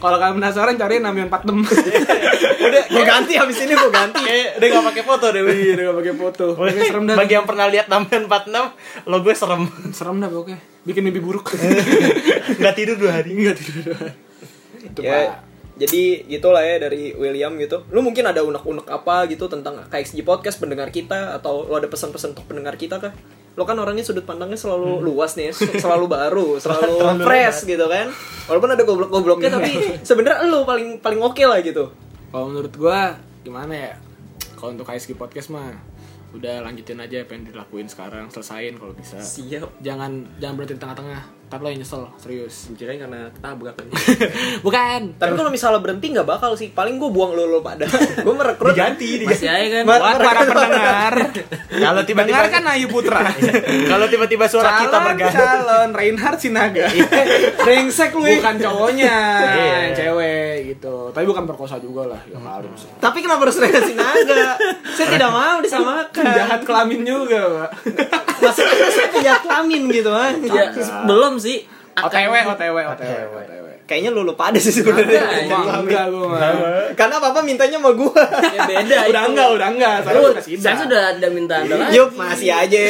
Speaker 3: Kalau kalian penasaran cariin Namion Patem.
Speaker 5: udah
Speaker 1: Gua ganti habis ini gua
Speaker 5: <laughs>
Speaker 1: ganti.
Speaker 5: kayak udah gak pakai foto deh
Speaker 3: <laughs> Iya, udah pakai foto. Iya. Pokoknya serem dah.
Speaker 5: bagi yang pernah lihat tampilan 46 logonya serem <laughs>
Speaker 3: Serem dah pokoknya. Bikin mimpi buruk.
Speaker 5: nggak tidur dua hari
Speaker 3: Enggak tidur. Itu
Speaker 1: ya,
Speaker 3: Pak.
Speaker 1: jadi gitulah ya dari William gitu. Lu mungkin ada unek-unek apa gitu tentang KXG podcast pendengar kita atau lu ada pesan-pesan untuk pendengar kita kah? Lo kan orangnya sudut pandangnya selalu luas nih, se- selalu baru, selalu fresh gitu kan. Walaupun ada goblok-gobloknya tapi sebenarnya lu paling paling oke lah gitu.
Speaker 3: Kalau menurut gua gimana ya? Kalau untuk KSG podcast mah udah lanjutin aja apa yang dilakuin sekarang, selesain kalau bisa.
Speaker 4: Siap.
Speaker 3: Jangan jangan berhenti di tengah-tengah. Ntar lo yang nyesel, serius.
Speaker 4: Kirain karena ketabrak kan.
Speaker 3: <laughs> Bukan.
Speaker 1: Tapi kalau misalnya berhenti nggak bakal sih. Paling gue buang lo lo
Speaker 3: <laughs>
Speaker 1: pada. gue merekrut.
Speaker 5: diganti diganti
Speaker 4: Masih aja kan.
Speaker 1: Mas-
Speaker 3: Iya. Buat <laughs> Iya. para pendengar.
Speaker 5: kalau tiba-tiba
Speaker 3: Dengarkan Ayu Putra.
Speaker 5: kalau tiba-tiba suara kita
Speaker 3: calon
Speaker 5: berganti
Speaker 3: calon Reinhard Sinaga.
Speaker 1: Rengsek lu. ya.
Speaker 3: bukan cowoknya,
Speaker 5: Iya.
Speaker 3: cewek gitu. Tapi bukan perkosa juga lah, ya harus.
Speaker 1: Tapi kenapa harus Rengga Sinaga? Saya tidak mau disamakan.
Speaker 3: Jahat kelamin juga, Pak.
Speaker 1: Maksudnya saya penjahat kelamin gitu kan.
Speaker 3: Iya.
Speaker 4: Ya, belum sih.
Speaker 3: OTW, OTW, OTW, OTW.
Speaker 1: Kayaknya lu lupa ada sih
Speaker 4: Ada,
Speaker 1: sebenarnya.
Speaker 3: Wah, enggak oh, gua mah.
Speaker 1: Karena papa mintanya sama gua.
Speaker 4: Ya beda
Speaker 3: Udah
Speaker 4: itu.
Speaker 3: enggak, udah enggak. Sekarang
Speaker 4: Lu,
Speaker 3: udah Iya.
Speaker 4: saya sudah tidak minta anda lagi.
Speaker 1: Yup, masih aja,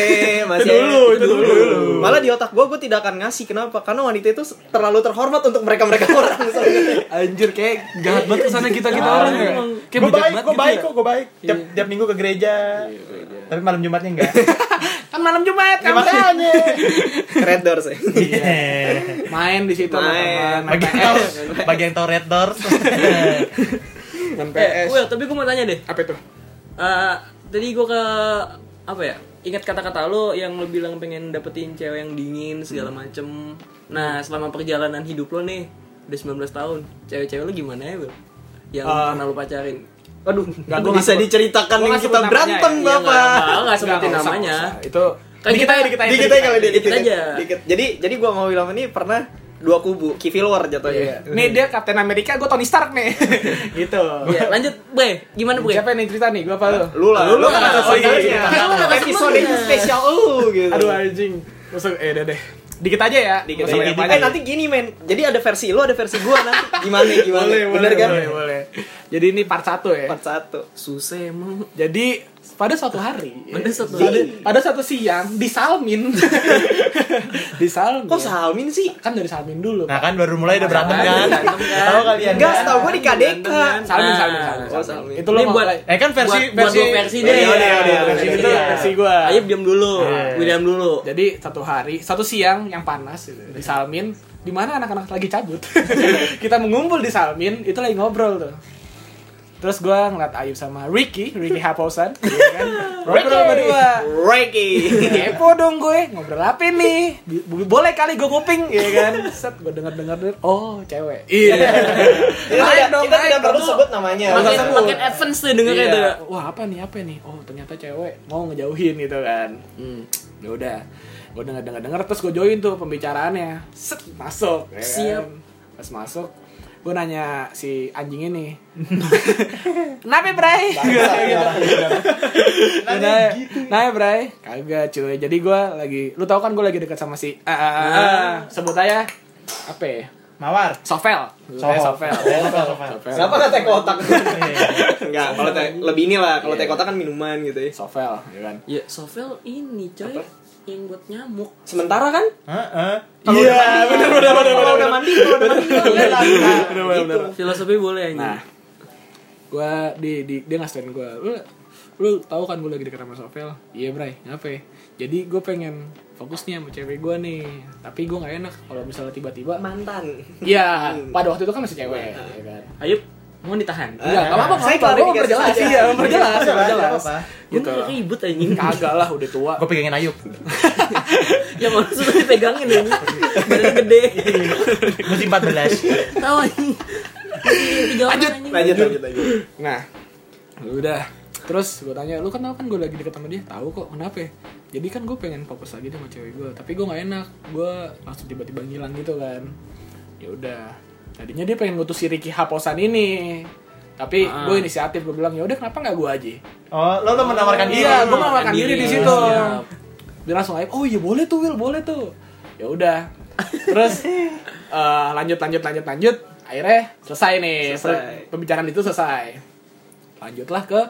Speaker 1: masih aja.
Speaker 3: dulu, itu dulu.
Speaker 1: Malah di otak gua gua tidak akan ngasih kenapa? Karena wanita itu terlalu terhormat untuk mereka-mereka
Speaker 3: <laughs>
Speaker 1: orang soalnya.
Speaker 3: Anjir kayak jahat banget kesana kita
Speaker 4: Iya,
Speaker 3: kita orang ya. Kayak
Speaker 5: gue
Speaker 3: bejat
Speaker 5: baik,
Speaker 3: banget
Speaker 5: gue
Speaker 3: gitu
Speaker 5: baik
Speaker 3: ya.
Speaker 5: kok, gue baik. Tiap, tiap minggu Iya. ke gereja. Tapi malam Jumatnya <laughs> enggak.
Speaker 3: Kan malam
Speaker 5: Iya,
Speaker 3: Jumat kan.
Speaker 5: Makanya.
Speaker 1: Red Doors ya.
Speaker 5: Iya.
Speaker 3: Main di situ sama
Speaker 1: Main.
Speaker 3: teman, main
Speaker 5: Bagi yang
Speaker 3: PS,
Speaker 5: tahu, bagi yang tahu Red Doors.
Speaker 3: main
Speaker 4: Eh,
Speaker 3: PS.
Speaker 4: Will, tapi gue mau tanya deh.
Speaker 3: Apa itu?
Speaker 4: Eh, tadi gue ke apa ya? Ingat kata-kata lo yang lo bilang pengen dapetin cewek yang dingin segala macem. Nah, selama perjalanan hidup lo nih udah 19 tahun, cewek-cewek lo gimana ya, Will? Yang
Speaker 3: Eh,
Speaker 4: pernah lo pacarin?
Speaker 1: Aduh,
Speaker 3: Nggak,
Speaker 1: bisa
Speaker 3: gua nggak sebut-
Speaker 1: diceritakan
Speaker 3: gua
Speaker 1: yang
Speaker 3: nggak sebut
Speaker 1: kita
Speaker 3: namanya,
Speaker 1: berantem,
Speaker 3: ya.
Speaker 4: Ya, nggak-
Speaker 1: Bapak.
Speaker 4: nggak- nggak
Speaker 3: Nggak,
Speaker 4: sebutin
Speaker 3: nggak usah,
Speaker 4: namanya.
Speaker 3: nggak usah. Itu
Speaker 4: Kan kita
Speaker 1: dikit aja kali dia dikit,
Speaker 4: Dikit
Speaker 1: aja.
Speaker 4: aja.
Speaker 1: Dikit. Jadi jadi gua sama William ini pernah dua kubu, kivil war jatuhnya.
Speaker 3: nih dia Kapten Amerika, gue Tony Stark nih. Iya. gitu.
Speaker 4: Iya, lanjut, Bre. Gimana, Bre?
Speaker 3: Siapa yang cerita nih? Gua apa lu?
Speaker 1: Lu lah, lu kan ada
Speaker 5: Oh, iya,
Speaker 1: saudaranya.
Speaker 5: iya.
Speaker 1: Kan lu ada episode
Speaker 4: sebelumnya.
Speaker 1: spesial lu gitu.
Speaker 3: Aduh anjing. Masuk eh udah deh. Dikit aja ya.
Speaker 1: Dikit
Speaker 3: Nggak usah
Speaker 1: aja.
Speaker 3: banyak-banyak.
Speaker 1: Eh nanti gini men, jadi ada versi lu ada versi gua nanti gimana gimana,
Speaker 3: boleh,
Speaker 1: bener
Speaker 3: boleh,
Speaker 1: kan?
Speaker 3: boleh, boleh. Jadi ini part 1 ya.
Speaker 1: Part satu.
Speaker 4: Susah emang.
Speaker 3: Jadi pada suatu hari,
Speaker 4: Pada suatu
Speaker 3: pada,
Speaker 4: hari.
Speaker 3: pada suatu siang di Salmin, di Salmin.
Speaker 1: Kok Salmin sih?
Speaker 3: kan dari Salmin dulu.
Speaker 5: Nah kan baru mulai udah berantem kan.
Speaker 4: Berantem, kan?
Speaker 5: Tahu kalian
Speaker 1: Enggak,
Speaker 5: kan?
Speaker 1: setahu gua di KDK.
Speaker 3: Salmin,
Speaker 4: Nah.
Speaker 3: Salmin, Salmin,
Speaker 1: Oh,
Speaker 3: Salmin.
Speaker 1: Salmin.
Speaker 3: Itu lo
Speaker 4: Ini
Speaker 3: mau
Speaker 4: buat-
Speaker 3: mulai-
Speaker 5: Eh kan versi
Speaker 4: Buat- buat gua versi deh.
Speaker 5: Iya, iya, iya,
Speaker 3: versi
Speaker 5: versi
Speaker 3: itu
Speaker 5: dia.
Speaker 3: versi gua.
Speaker 4: Ayub diam dulu.
Speaker 5: Iya.
Speaker 4: William dulu.
Speaker 3: Jadi satu hari, satu siang yang panas gitu, di Salmin, di mana anak-anak lagi cabut. <laughs> Kita mengumpul di Salmin, itu lagi ngobrol tuh. Terus gua ngeliat Ayub sama Ricky, Ricky
Speaker 1: <laughs>
Speaker 3: Haposan, ya kan? ngobrol berdua.
Speaker 1: Ricky.
Speaker 3: <laughs> kepo dong gue ngobrol apa nih B- b- boleh kali gue nguping ya kan set gue denger denger denger, oh cewek iya <laughs>
Speaker 1: Kita tidak, kita tidak perlu sebut namanya.
Speaker 3: Nggak
Speaker 4: Makin
Speaker 3: usah sebut.
Speaker 4: makin advance tuh dengernya
Speaker 3: Iya.
Speaker 4: tuh.
Speaker 3: wah apa nih apa nih oh ternyata cewek mau ngejauhin gitu kan hmm, ya udah gue denger denger denger terus gue join tuh pembicaraannya set masuk ya kan?
Speaker 4: Siap.
Speaker 3: pas masuk gue nanya si anjing ini <laughs> kenapa bray
Speaker 5: Iya.
Speaker 3: Nah,
Speaker 5: gitu.
Speaker 3: nah, Bray. Kagak, cuy. Jadi gua lagi lu tahu kan gua lagi dekat sama si ah, ah, ah, ah. sebut aja apa ya?
Speaker 5: Mawar.
Speaker 3: Sovel. Saya Sovel.
Speaker 5: Saya Eh, Sovel, Sovel.
Speaker 3: Sovel.
Speaker 1: Kenapa nggak teh kotak? Enggak, kalau teh lebih inilah, kalau teh kotak kan minuman gitu ya.
Speaker 3: Sovel, ya kan?
Speaker 4: Ya, Sovel ini coy yang buat nyamuk.
Speaker 1: Sementara kan?
Speaker 5: Heeh.
Speaker 1: Kalau
Speaker 5: Iya,
Speaker 1: udah mandi,
Speaker 5: benar benar benar
Speaker 3: <laughs>
Speaker 1: Kalau udah mandi, kalau udah mandi.
Speaker 3: Gitu.
Speaker 5: benar.
Speaker 4: Filosofi boleh anjing.
Speaker 3: Nah, gue Nah, di, di dia ngasain gue lu lu tahu kan gue lagi dekat sama Sofel iya bray ngapain jadi gue pengen fokusnya sama cewek gue nih tapi gue nggak enak kalau misalnya tiba-tiba
Speaker 1: mantan
Speaker 3: Iya, pada waktu itu kan masih cewek, ya kan?
Speaker 2: Ayub mau ditahan.
Speaker 3: Iya, nggak apa-apa,
Speaker 1: Eh, Saya
Speaker 3: nggak apa-apa, gue
Speaker 1: klarifikasi
Speaker 3: perjelas,
Speaker 1: aja.
Speaker 3: iya, perjelas,
Speaker 5: Nggak apa-apa,
Speaker 3: perjelas,
Speaker 5: nggak
Speaker 3: gitu.
Speaker 4: Bener, ribut anjing
Speaker 3: Kagak lah, udah tua.
Speaker 2: Gue pengen Ayub.
Speaker 4: yang harus sudah Ya, dipegangin anjing badan gede
Speaker 2: Musim 14.
Speaker 4: tahu anjing Masih tiga orang
Speaker 3: Lanjut.
Speaker 4: anjing.
Speaker 1: lanjut lanjut lanjut
Speaker 3: Nah, udah. Terus gue tanya, lu kan tau kan gue lagi deket sama dia? Tahu kok, kenapa ya? Jadi kan gue pengen fokus lagi sama cewek gue, tapi gue nggak enak. Gue langsung tiba-tiba ngilang gitu kan. Ya udah. Tadinya dia pengen ngutus si Ricky Haposan ini. Tapi gue inisiatif, gue bilang, ya udah kenapa nggak gue aja?
Speaker 5: Oh, lo lo menawarkan diri.
Speaker 3: Iya, gue menawarkan diri di situ.
Speaker 4: Siap.
Speaker 3: Dia langsung aib, oh iya boleh tuh Will, boleh tuh. Ya udah. Terus eh, lanjut lanjut lanjut lanjut. Akhirnya selesai nih.
Speaker 1: Selesai.
Speaker 3: Pembicaraan itu selesai. Lanjutlah ke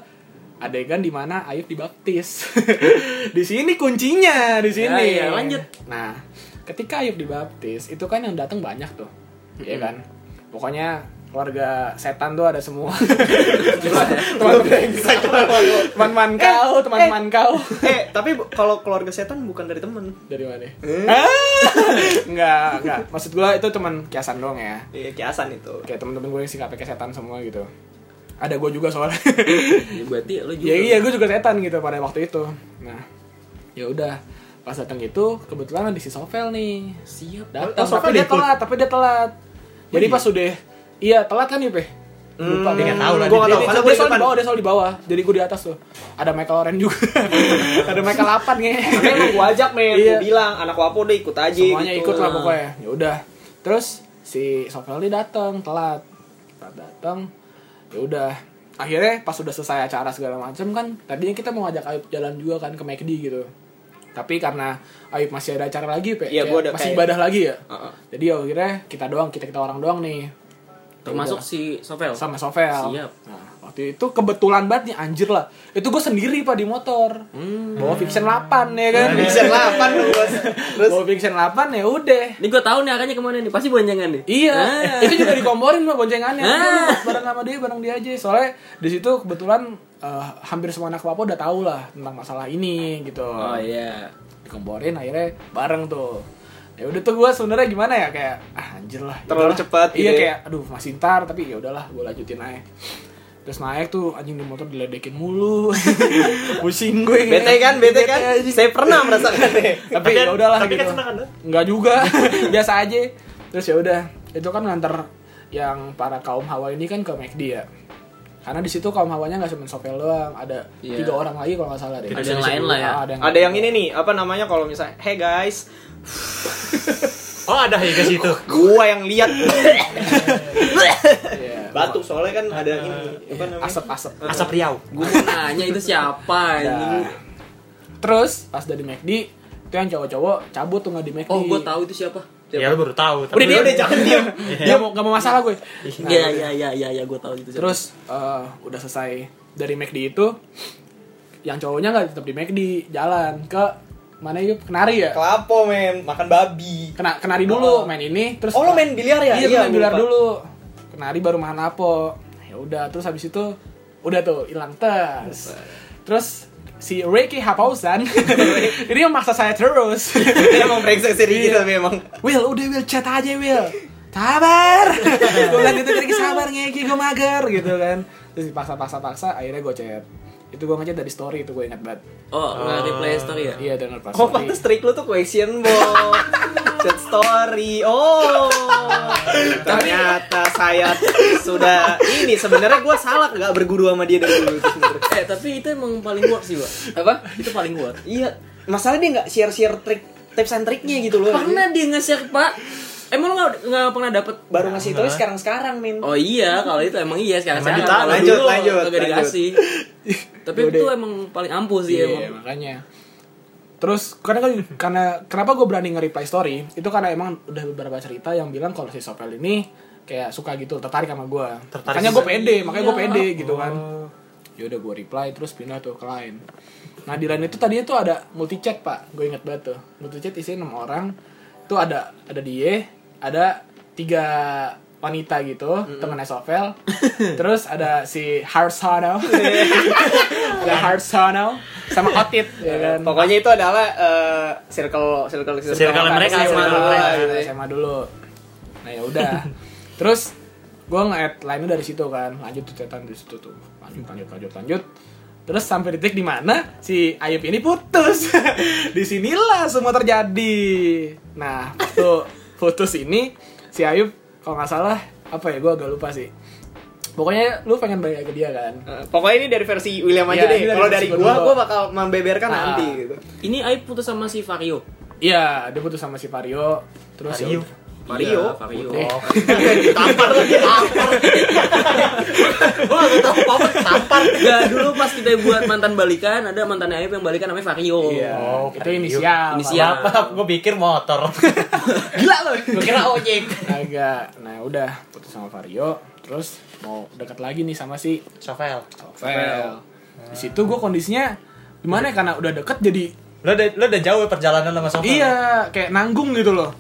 Speaker 3: adegan di mana Ayub dibaptis. <laughs> di sini kuncinya, di sini.
Speaker 4: Ya, ya, lanjut.
Speaker 3: Nah, ketika Ayub dibaptis, itu kan yang datang banyak tuh. Iya kan? Pokoknya keluarga setan tuh ada <laughs> semua. Teman-teman kau, teman-teman kau.
Speaker 1: eh tapi bu- kalau keluarga setan bukan dari temen
Speaker 3: Dari mana? Ah, <laughs> Enggak, enggak. Maksud gua itu teman kiasan doang ya.
Speaker 1: iya kiasan itu
Speaker 3: Kayak teman-teman gue yang sikapnya kayak setan semua gitu. Ada gue juga soalnya. <laughs>
Speaker 4: Ya, berarti lu juga
Speaker 3: ya iya, gue juga setan gitu pada waktu itu. Nah, ya udah. Pas datang itu kebetulan ada si Sovel nih.
Speaker 4: siap
Speaker 3: Datang,
Speaker 5: Oh, Sovel
Speaker 3: tapi dia
Speaker 5: ikut.
Speaker 3: telat, tapi dia telat. Jadi pas udah iya telat kan Ipe? Lupa
Speaker 2: Dia nggak tahu lah, dia-
Speaker 1: gue Hmm. nggak
Speaker 3: Dia,
Speaker 1: tahu
Speaker 3: dia,
Speaker 1: karena
Speaker 3: dia
Speaker 1: gue
Speaker 3: soal
Speaker 1: depan
Speaker 3: di bawah, dia soal di bawah. Jadi gue di atas tuh. Ada Michael Oren juga. ada Michael 8 nih.
Speaker 1: Makanya emang gue ajak men
Speaker 3: Iya.
Speaker 1: gue bilang anak wapo deh ikut aja
Speaker 3: semuanya
Speaker 1: gitu.
Speaker 3: ikut lah pokoknya ya udah terus si Sofelli datang telat telat datang ya udah akhirnya pas udah selesai acara segala macam kan tadinya kita mau ngajak Ayub jalan juga kan ke McD gitu tapi karena Ayub masih ada acara lagi Pe,
Speaker 1: Iya,
Speaker 3: kayak
Speaker 1: gua ada
Speaker 3: masih
Speaker 1: kayak-
Speaker 3: ibadah lagi ya
Speaker 1: Heeh.
Speaker 3: jadi ya akhirnya kita doang kita kita orang doang nih Ya
Speaker 4: termasuk si Sofel
Speaker 3: sama Sovel
Speaker 4: Siap.
Speaker 3: Nah, waktu itu kebetulan banget nih anjir lah itu gue sendiri pak di motor bawa Vincent 8 ya kan
Speaker 1: bisa delapan lu bos terus
Speaker 3: bawa Vincent 8 ya udah
Speaker 4: ini gue tahu nih arahnya kemana nih pasti boncengan nih
Speaker 3: Iya,
Speaker 1: Nah.
Speaker 4: Ah.
Speaker 3: itu juga dikomporin mah boncengannya.
Speaker 4: Ah.
Speaker 3: Udah lu bareng sama dia, bareng dia aja. Soalnya di situ kebetulan eh, hampir semua anak Wapo udah tahu lah tentang masalah ini gitu.
Speaker 4: oh iya
Speaker 3: Dikomporin akhirnya bareng tuh. Ya udah tuh gue sebenarnya gimana ya kayak ah, anjir lah. ya
Speaker 1: Terlalu
Speaker 3: udahlah.
Speaker 1: cepat
Speaker 3: Iya
Speaker 1: gitu ya.
Speaker 3: kayak aduh masih ntar tapi ya udahlah gue lanjutin aja. Terus naik tuh anjing di motor diledekin mulu. <laughs> Pusing gue.
Speaker 1: bete kan bete kan
Speaker 3: anjing.
Speaker 1: saya pernah merasakan <laughs> deh
Speaker 3: tapi ya udahlah
Speaker 5: tapi kan
Speaker 3: gitu.
Speaker 5: senang kan, lo?
Speaker 3: Enggak juga, <laughs> biasa aja. Terus ya udah, itu kan nganter yang para kaum hawa ini kan ke McD ya. Karena di situ kaum hawanya nggak cuma Sopel doang, ada
Speaker 4: Iya.
Speaker 3: tiga orang lagi kalau nggak salah deh.
Speaker 4: Ada yang lain lah ya.
Speaker 3: Ah, Ada yang,
Speaker 1: ada yang ini nih apa namanya kalau misalnya hey guys
Speaker 2: Oh ada ya ke situ.
Speaker 1: gua yang lihat
Speaker 3: Iya.
Speaker 1: batuk soalnya kan ada ini apa namanya
Speaker 3: Asap-asap.
Speaker 2: Asap Riau.
Speaker 4: gue mau nanya itu siapa
Speaker 3: Nah.
Speaker 4: anjing
Speaker 3: Terus pas dari McD, itu yang cowok-cowok cabut tuh nggak di McD.
Speaker 4: oh gue tahu itu siapa
Speaker 2: Ya
Speaker 3: Iya.
Speaker 2: lu baru tahu.
Speaker 3: Udah
Speaker 2: Tapi
Speaker 3: dia
Speaker 1: udah Eh, jangan diem
Speaker 3: <laughs> Dia mau nggak mau masalah gue. Nah,
Speaker 4: Iya iya iya iya ya, gue tahu itu siapa.
Speaker 3: Terus eh, udah selesai dari McD itu yang cowoknya nggak tetap di McD jalan ke mana yuk kenari ya
Speaker 1: kelapo men makan babi
Speaker 3: Kena, kenari dulu main ini terus
Speaker 1: oh lo main biliar ya
Speaker 3: iya, gua main
Speaker 1: gua
Speaker 3: biliar
Speaker 1: lupa.
Speaker 3: dulu kenari baru makan lapo ya udah terus habis itu udah tuh hilang tes terus si Ricky <laughs> Hapausan ini yang maksa saya terus
Speaker 1: <laughs> Dia emang brengsek sih
Speaker 3: Iya.
Speaker 1: Ricky tapi emang
Speaker 3: Will udah Will chat aja Will sabar gue bilang gitu Ricky sabar ngeki gue mager gitu kan terus dipaksa-paksa-paksa akhirnya gue chat itu gue ngechat dari story itu gue ingat banget
Speaker 4: oh nggak reply story ya
Speaker 3: iya dari pas
Speaker 1: oh
Speaker 3: story.
Speaker 1: pantes trik lu tuh question box chat story oh ternyata saya sudah ini sebenarnya gua salah nggak berguru sama dia dari dulu itu sebenarnya.
Speaker 4: eh tapi itu emang paling work sih pak apa itu paling work
Speaker 1: iya masalah dia nggak share share trik tips and triknya gitu loh
Speaker 4: pernah dia nge-share pak emang lo nggak nggak pernah dapet
Speaker 1: baru ngasih tahu sekarang sekarang min
Speaker 4: oh iya kalau itu emang iya sekarang
Speaker 2: Emang
Speaker 4: sekarang
Speaker 2: ditahan.
Speaker 4: Kalau
Speaker 1: Lanjut,
Speaker 4: dulu
Speaker 1: lanjut,
Speaker 4: kagak
Speaker 1: lanjut.
Speaker 4: dikasih tapi
Speaker 3: Yaudah.
Speaker 4: itu emang paling ampuh sih
Speaker 3: Iya,
Speaker 4: emang
Speaker 3: makanya. Terus karena kan karena kenapa gue berani nge-reply story itu karena emang udah beberapa cerita yang bilang kalau si Sopel ini kayak suka gitu tertarik sama gue.
Speaker 2: Tertarik
Speaker 3: Makanya gue
Speaker 2: sih.
Speaker 3: pede, makanya gue pede gitu kan. Ya udah gue reply terus pindah tuh ke lain. Nah di lain itu tadi itu ada multi chat pak, gue inget banget tuh. Multi chat isinya enam orang, tuh ada ada dia, ada tiga wanita gitu temen Esofel terus ada si Harsono ada Harsono sama Otit ya kan
Speaker 1: Pokoknya itu adalah eh, circle circle
Speaker 2: Circle mereka,
Speaker 1: SMA
Speaker 2: circle
Speaker 1: dulu lah,
Speaker 2: mereka.
Speaker 1: gitu ya.
Speaker 3: SMA dulu nah ya
Speaker 2: <laughs>
Speaker 3: udah terus gue nge-add lainnya dari situ kan lanjut tuh cetan dari situ tuh lanjut lanjut lanjut lanjut terus sampai detik di mana si Ayub ini putus <laughs> disinilah semua terjadi nah waktu putus ini si Ayub kalau nggak salah apa ya gue agak lupa sih pokoknya lu pengen balik ke dia kan
Speaker 1: Eh, Pokoknya ini dari versi William aja
Speaker 3: Iya,
Speaker 1: deh.
Speaker 3: ini dari
Speaker 1: Kalau
Speaker 3: versi
Speaker 1: dari
Speaker 3: gua
Speaker 1: gua,
Speaker 3: dulu.
Speaker 1: gua bakal membeberkan
Speaker 3: Ah.
Speaker 1: nanti gitu.
Speaker 4: Ini Aib putus sama si Vario.
Speaker 3: iya dia putus sama si Vario terus ya Eh,
Speaker 5: Vario.
Speaker 3: udah.
Speaker 1: Vario.
Speaker 4: Iya, Vario.
Speaker 3: Putih.
Speaker 1: Ditampar lagi.
Speaker 4: <laughs> Wah, gak tau apa tampar. Gak, dulu pas kita buat mantan balikan, ada mantan Aib yang balikan namanya Vario.
Speaker 3: Iya,
Speaker 5: Oh,
Speaker 3: itu
Speaker 5: Vario.
Speaker 3: inisial.
Speaker 4: Inisial.
Speaker 5: Apa? Gue pikir motor. <laughs>
Speaker 3: Gila lo.
Speaker 5: Gue kira ojek.
Speaker 3: Agak. Nah, udah putus sama Vario, terus mau dekat lagi nih sama si
Speaker 5: Sovel.
Speaker 3: Sovel. Di situ gue kondisinya gimana ya karena udah deket jadi
Speaker 5: Lo udah, lo udah jauh ya perjalanan sama Sovel.
Speaker 3: iya kayak nanggung gitu loh.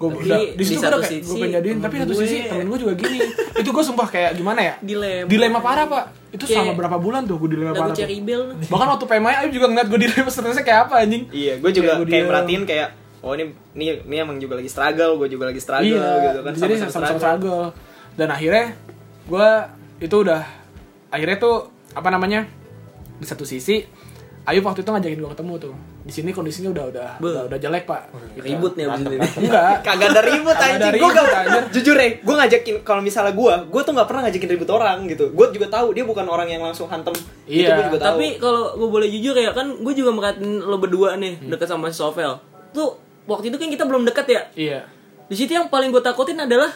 Speaker 3: Gue
Speaker 4: Tapi
Speaker 3: udah di
Speaker 4: di
Speaker 3: situ
Speaker 4: satu
Speaker 3: udah kayak
Speaker 4: sisi,
Speaker 3: gue pengen jadiin,
Speaker 4: temen
Speaker 3: tapi satu
Speaker 4: gue-
Speaker 3: sisi temen gue juga gini. itu gue sumpah kayak gimana ya?
Speaker 4: Dilema.
Speaker 3: Dilema parah pak. Itu selama
Speaker 4: Kayak-
Speaker 3: berapa bulan tuh gue dilema
Speaker 4: Lagu
Speaker 3: parah. tuh.
Speaker 4: Cherry Bell.
Speaker 3: Bahkan waktu PMI Ayu juga ngeliat gue dilema statusnya kayak apa anjing.
Speaker 1: Iya, gua juga
Speaker 3: Kayak gua
Speaker 1: kayak
Speaker 3: diem.
Speaker 1: merhatiin kayak oh ini ini ini emang juga lagi struggle, gua juga lagi struggle gitu kan.
Speaker 3: Iya, Jadi sama-sama struggle. Dan akhirnya gue itu udah akhirnya tuh apa namanya di satu sisi Ayu waktu itu ngajakin gue ketemu tuh. Di sini kondisinya udah udah
Speaker 4: Be.
Speaker 3: udah, udah jelek pak.
Speaker 4: Ribut nih abis ini.
Speaker 3: Enggak.
Speaker 1: <laughs> Kagak ada ribut
Speaker 3: Kagak ada
Speaker 1: anjing. Gua
Speaker 3: ribut,
Speaker 1: gak-
Speaker 3: anjir.
Speaker 1: jujur ya, gua ngajakin kalau misalnya gua, gua tuh nggak pernah ngajakin ribut orang gitu. Gua juga tahu dia bukan orang yang langsung hantem. Itu
Speaker 3: Iya,
Speaker 1: gua juga tahu.
Speaker 4: Tapi kalau gue boleh jujur ya kan gue juga merhatiin lo berdua nih deket sama si Sovel. Tuh waktu itu kan kita belum deket ya.
Speaker 3: Iya.
Speaker 4: Di situ yang paling gue takutin adalah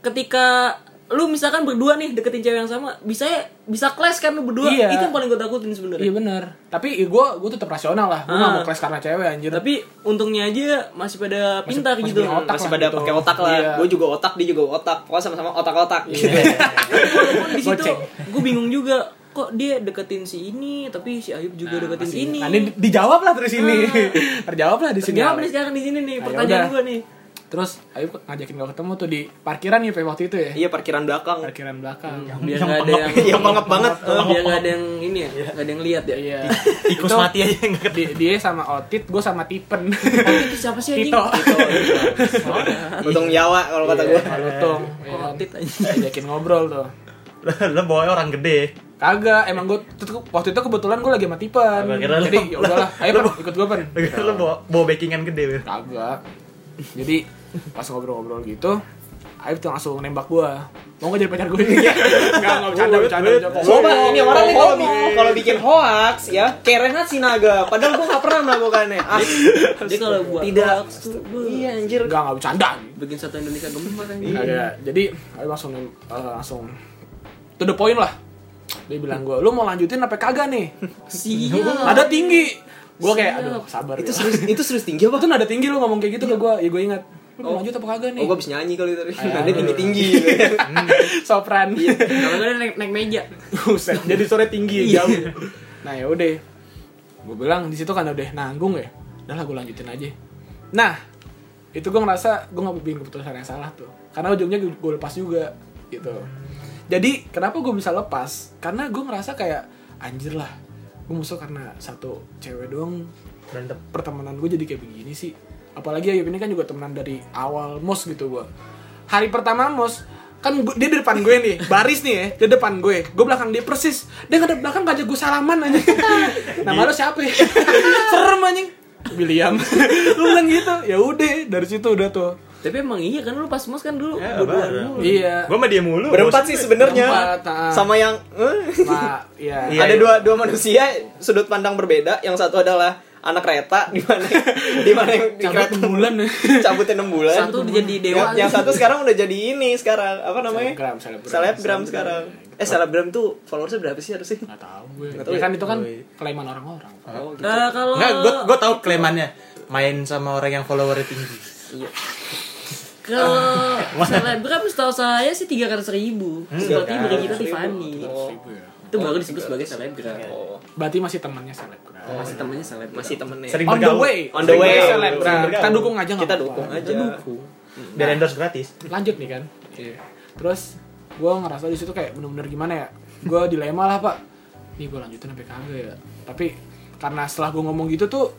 Speaker 4: ketika lu misalkan berdua nih deketin cewek yang sama bisa bisa clash kan lu berdua
Speaker 3: Iya.
Speaker 4: itu yang paling gue takutin sebenarnya.
Speaker 3: Iya benar. Tapi gue gue tetap rasional lah. Gue nggak
Speaker 4: Ah.
Speaker 3: mau kelas karena cewek anjir.
Speaker 4: Tapi untungnya aja masih pada pintar
Speaker 3: masih
Speaker 4: gitu.
Speaker 3: punya otak
Speaker 1: masih
Speaker 3: lah
Speaker 1: pada
Speaker 3: gitu.
Speaker 1: pakai otak lah.
Speaker 3: Iya.
Speaker 1: Gua juga otak, dia juga otak. Pokoknya sama-sama otak-otak. <laughs> gitu.
Speaker 4: Walaupun di situ
Speaker 3: Goceng.
Speaker 4: gue bingung juga kok dia deketin si ini tapi si Ayub
Speaker 3: Nah,
Speaker 4: juga deketin si ini.
Speaker 3: Nanti di- dijawab lah terus ini. <laughs> Terjawab lah di sini.
Speaker 4: Jawab nih sekarang di sini
Speaker 3: Nah,
Speaker 4: nih pertanyaan
Speaker 3: yaudah.
Speaker 4: gue nih.
Speaker 3: Terus Ayu ngajakin gue ketemu tuh di parkiran ya Pe, waktu itu ya.
Speaker 1: Iya, parkiran belakang.
Speaker 3: Parkiran belakang.
Speaker 4: Biar nggak ada yang
Speaker 1: Iya, mengep banget.
Speaker 4: Oh, biar gak ada yang ini ya, gak ada yang lihat ya.
Speaker 3: Iya.
Speaker 5: Tikus
Speaker 3: Itu-
Speaker 5: mati aja yang nggak
Speaker 3: Di- dia sama Otit, gue sama Tipen.
Speaker 4: Otit siapa sih anjing?
Speaker 3: Tito.
Speaker 5: iya.
Speaker 1: Untung Jawa kalau kata
Speaker 3: Iya,
Speaker 1: gua.
Speaker 3: Malutung.
Speaker 1: Iya.
Speaker 4: Oh, Otit anjing.
Speaker 3: Ajakin ngobrol tuh.
Speaker 5: Lo bawa orang gede.
Speaker 3: Kagak, emang gue waktu itu kebetulan gue lagi sama Tipen.
Speaker 5: Gua kira lu-
Speaker 3: Jadi ya udahlah, ayo Pen, ikut gue Pen.
Speaker 5: Lo kira Lo bawa, bawa backingan gede. Wil.
Speaker 3: Kagak. Jadi pas ngobrol-ngobrol gitu, Aib tuh langsung nembak gue. Mau gak jadi pacar
Speaker 5: <laughs>
Speaker 3: gue? Enggak, enggak bercanda, bercanda. bercanda.
Speaker 1: Coba ini orang nih kalau
Speaker 3: Homo.
Speaker 1: bi- kalau bikin hoax ya, kerennya si naga. Padahal gua nggak pernah melakukannya. As
Speaker 3: Iya.
Speaker 4: <laughs> Jadi kalau buat
Speaker 1: Tidak.
Speaker 4: hoax tuh, beuh.
Speaker 1: iya anjir.
Speaker 3: Enggak, enggak bercanda.
Speaker 4: bikin satu Indonesia gemar kan.
Speaker 1: Iya.
Speaker 3: Kagak. Jadi Aib langsung nem- eh, langsung to the point lah. Dia bilang gue, lu mau lanjutin apa kagak <laughs> nih?
Speaker 1: <laughs>
Speaker 4: Siap.
Speaker 3: nada tinggi gue kayak aduh sabar ya."
Speaker 1: Itu
Speaker 3: itu
Speaker 1: serius itu serius tinggi apa?
Speaker 3: tuh nada tinggi lu ngomong kayak gitu ke gue ya gue ingat lu mau lanjut apa kagak nih
Speaker 1: Oh,
Speaker 3: <laughs>
Speaker 1: gua habis nyanyi kali tadi.
Speaker 3: Ayo.
Speaker 1: Nada tinggi-tinggi.
Speaker 3: sopran
Speaker 4: Kalau gak ada naik, naik meja.
Speaker 3: <laughs> Buset, jadi sore tinggi
Speaker 1: Iya.
Speaker 3: ya jauh nah ya udah gue bilang di situ kan udah nanggung ya udah lah gue lanjutin aja nah itu gue ngerasa gue nggak bikin keputusan yang salah tuh karena ujungnya gue lepas juga gitu jadi kenapa gue bisa lepas karena gue ngerasa kayak anjir lah gue musuh karena satu cewek doang
Speaker 5: Berantem.
Speaker 3: pertemanan gue jadi kayak begini sih apalagi Ayub ini kan juga temenan dari awal mos gitu gue hari pertama mos kan gua- dia di depan gue nih baris nih ya dia depan gue gue belakang dia persis dia ngadep belakang ngajak gue salaman aja nama lo siapa ya? serem anjing William lu bilang gitu ya udah dari situ udah tuh
Speaker 4: Tapi emang iya kan lu pas mos kan
Speaker 1: Eh,
Speaker 4: dulu
Speaker 5: Ya,
Speaker 4: berdua
Speaker 5: bareng.
Speaker 4: dulu.
Speaker 3: iya
Speaker 5: Gue sama dia mulu.
Speaker 1: Berempat sih sebenarnya.
Speaker 3: Berempat, ah.
Speaker 1: Sama yang eh.
Speaker 3: Nah, iya.
Speaker 5: Iya,
Speaker 1: ada
Speaker 5: iya.
Speaker 1: dua dua manusia sudut pandang berbeda. Yang satu adalah anak kereta <laughs> di mana di mana yang di
Speaker 3: Cabut
Speaker 1: kereta
Speaker 3: enam bulan ya.
Speaker 1: <laughs> cabut enam bulan.
Speaker 4: Satu jadi dewa.
Speaker 1: Yang, yang satu sekarang udah jadi ini sekarang apa namanya?
Speaker 3: Selebgram, selebgram.
Speaker 1: Selebgram sekarang. Eh selebgram tuh followersnya berapa sih harusnya?
Speaker 3: nggak tahu gue
Speaker 1: Nggak tahu
Speaker 3: ya
Speaker 1: ya?
Speaker 3: kan itu kan kelaiman orang-orang
Speaker 4: Nah, kalau
Speaker 5: Enggak, gue gue tahu klaimannya main sama orang yang followernya tinggi.
Speaker 1: <laughs>
Speaker 4: kalau selebgram setahu saya sih tiga ratus ribu. Seperti
Speaker 1: Hmm. tiga
Speaker 4: Brigita
Speaker 1: ratus ribu.
Speaker 4: Tiffany.
Speaker 3: Iya.
Speaker 4: Itu baru disebut sebagai selebgram.
Speaker 1: Oh,
Speaker 3: berarti masih temannya selebgram
Speaker 4: Masih temennya selebgram.
Speaker 1: masih temennya.
Speaker 5: Sering
Speaker 3: on the
Speaker 5: bergaul.
Speaker 3: way
Speaker 1: On the way.
Speaker 3: Selebgram.
Speaker 5: Bergaul.
Speaker 3: kita Nah, dukung aja nggak
Speaker 1: Kita
Speaker 3: apa-apa.
Speaker 1: dukung aja.
Speaker 5: Biar endorse gratis.
Speaker 3: lanjut nih kan Iya. Terus gue ngerasa di situ kayak bener-bener gimana ya? Gue <laughs> dilema lah pak. Nih gue lanjutin sampai kagak ya. Tapi karena setelah gue ngomong gitu tuh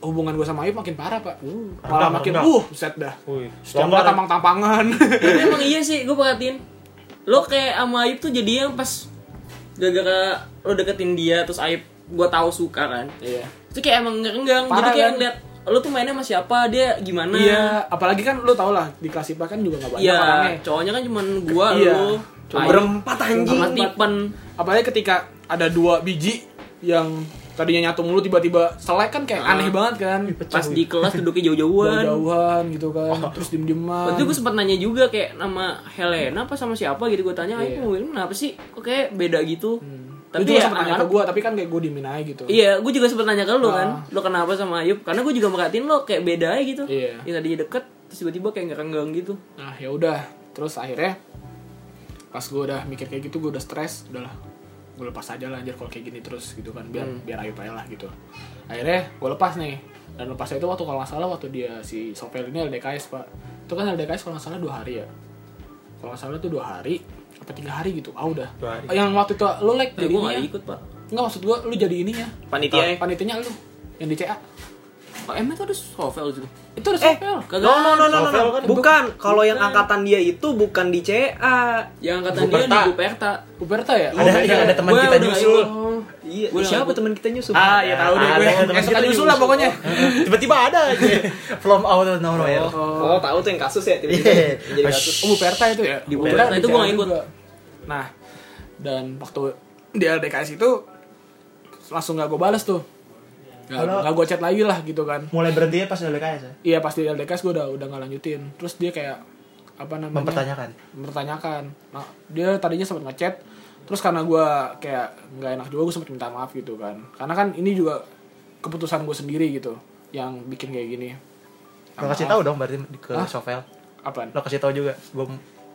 Speaker 3: hubungan gue sama Ayu makin parah pak. Malah
Speaker 5: Rendah,
Speaker 3: makin
Speaker 5: rendah.
Speaker 3: uh set dah.
Speaker 2: Wih,
Speaker 5: longgar
Speaker 3: Setiap malam
Speaker 5: ya?
Speaker 3: <laughs> tampang-tampangan.
Speaker 4: Tapi emang iya sih, gue perhatiin. Lo kayak sama Ayub tuh jadi yang pas gara-gara lo deketin dia terus Ayub gue tahu suka kan.
Speaker 3: Iya.
Speaker 4: Itu kayak emang ngerenggang.
Speaker 3: Parah,
Speaker 4: Jadi kayak
Speaker 3: kan?
Speaker 4: ngeliat lo tuh mainnya sama siapa, dia gimana.
Speaker 3: Iya, apalagi kan lu tau lah di kelas IPA kan juga gak banyak
Speaker 4: Iya,
Speaker 3: orangnya.
Speaker 4: cowoknya kan cuman gua
Speaker 3: Iya.
Speaker 4: lo.
Speaker 1: Cuma
Speaker 4: Ayub,
Speaker 1: berempat anjing.
Speaker 4: sama Tipen.
Speaker 3: Apalagi ketika ada dua biji yang tadinya nyatu mulu tiba-tiba selek kan kayak
Speaker 4: Ah.
Speaker 3: aneh banget kan.
Speaker 4: Pas di kelas duduknya jauh-jauhan.
Speaker 3: Jauh-jauhan gitu kan. Terus diem-dieman.
Speaker 4: Waktu itu gue sempat nanya juga kayak nama Helena apa sama siapa gitu gue
Speaker 3: Iya.
Speaker 4: tanya,
Speaker 3: Hmm.
Speaker 4: Ayub mobilnya kenapa sih? Kok kayak beda gitu?
Speaker 3: Tapi
Speaker 4: Tapi ya
Speaker 3: sempat nanya ke
Speaker 4: anak-anak
Speaker 3: gue, tapi kan kayak gue diemin aja gitu.
Speaker 4: Iya, gue juga sempet nanya ke lo
Speaker 3: Ah.
Speaker 4: kan, lo kenapa sama Ayub? Karena gue juga merhatiin lo kayak beda aja gitu.
Speaker 3: Iya.
Speaker 4: Yang tadinya deket, terus tiba-tiba kayak ngerenggang gitu.
Speaker 3: Nah ya udah, terus akhirnya pas gue udah mikir kayak gitu, gue udah stres, udahlah gue lepas aja lah anjir kalau kayak gini terus gitu kan biar
Speaker 4: Hmm.
Speaker 3: biar ayu aja lah gitu akhirnya gue lepas nih dan lepasnya itu waktu kalau nggak salah waktu dia si Sopel ini LDKS pak itu kan LDKS kalau nggak salah dua hari ya kalau nggak salah itu dua hari apa tiga hari gitu ah udah
Speaker 2: Dua hari.
Speaker 3: yang waktu itu lo like
Speaker 4: Nah, gue
Speaker 3: jadinya
Speaker 4: gak ikut pak.
Speaker 3: nggak maksud gue lu jadi ininya
Speaker 1: Panitia.
Speaker 3: Iya, panitianya lu yang di CA
Speaker 4: Pak Oh, emang itu ada sovel gitu.
Speaker 3: itu ada Sopel
Speaker 4: Kagak.
Speaker 1: No no no no no.
Speaker 2: Novel
Speaker 1: no.
Speaker 2: kan?
Speaker 1: Bukan, kalau yang angkatan dia itu bukan di CA.
Speaker 4: Yang angkatan dia di
Speaker 2: Buperta.
Speaker 3: Uberta
Speaker 4: Buperta.
Speaker 3: ya
Speaker 5: Ada yang ada teman
Speaker 4: Gua
Speaker 5: kita
Speaker 4: udah
Speaker 5: <laughs> nyusul.
Speaker 4: ikut.
Speaker 1: Iya,
Speaker 4: Gua
Speaker 1: siapa
Speaker 4: nggak-
Speaker 1: teman kita Yusuf?
Speaker 3: ah ya tahu deh
Speaker 5: Ada
Speaker 3: gue
Speaker 5: teman
Speaker 3: esok
Speaker 5: kita
Speaker 3: tadi usul lah
Speaker 4: Yusuf.
Speaker 3: pokoknya
Speaker 2: Tiba-tiba ada aja.
Speaker 5: <laughs> From out of nowhere.
Speaker 1: Oh, tahu tuh yang kasus ya tiba-tiba
Speaker 5: Iya.
Speaker 1: jadi kasus.
Speaker 3: Oh, Bu Perta itu ya?
Speaker 4: Di
Speaker 3: Gua
Speaker 4: Bu
Speaker 3: kira
Speaker 4: Perta
Speaker 3: di
Speaker 4: itu gua nggak
Speaker 3: Jawa
Speaker 4: ikut.
Speaker 3: juga. Nah, dan waktu di LDKS itu langsung nggak gue balas tuh. Nggak
Speaker 5: Halo.
Speaker 3: nggak gue chat lagi lah gitu kan.
Speaker 5: Mulai berhenti pas LDKS ya.
Speaker 3: Iya pas di LDKS gue udah udah nggak lanjutin. Terus dia kayak apa namanya?
Speaker 5: Mempertanyakan.
Speaker 3: Mempertanyakan. Nah, dia tadinya sempat ngechat. Terus karena gue kayak nggak enak juga gue sempat minta maaf gitu kan. Karena kan ini juga keputusan gue sendiri gitu yang bikin kayak gini.
Speaker 5: Lo kasih tahu dong berarti ke
Speaker 3: Hah?
Speaker 5: Sovel.
Speaker 3: Apaan?
Speaker 5: Lo kasih tahu juga gue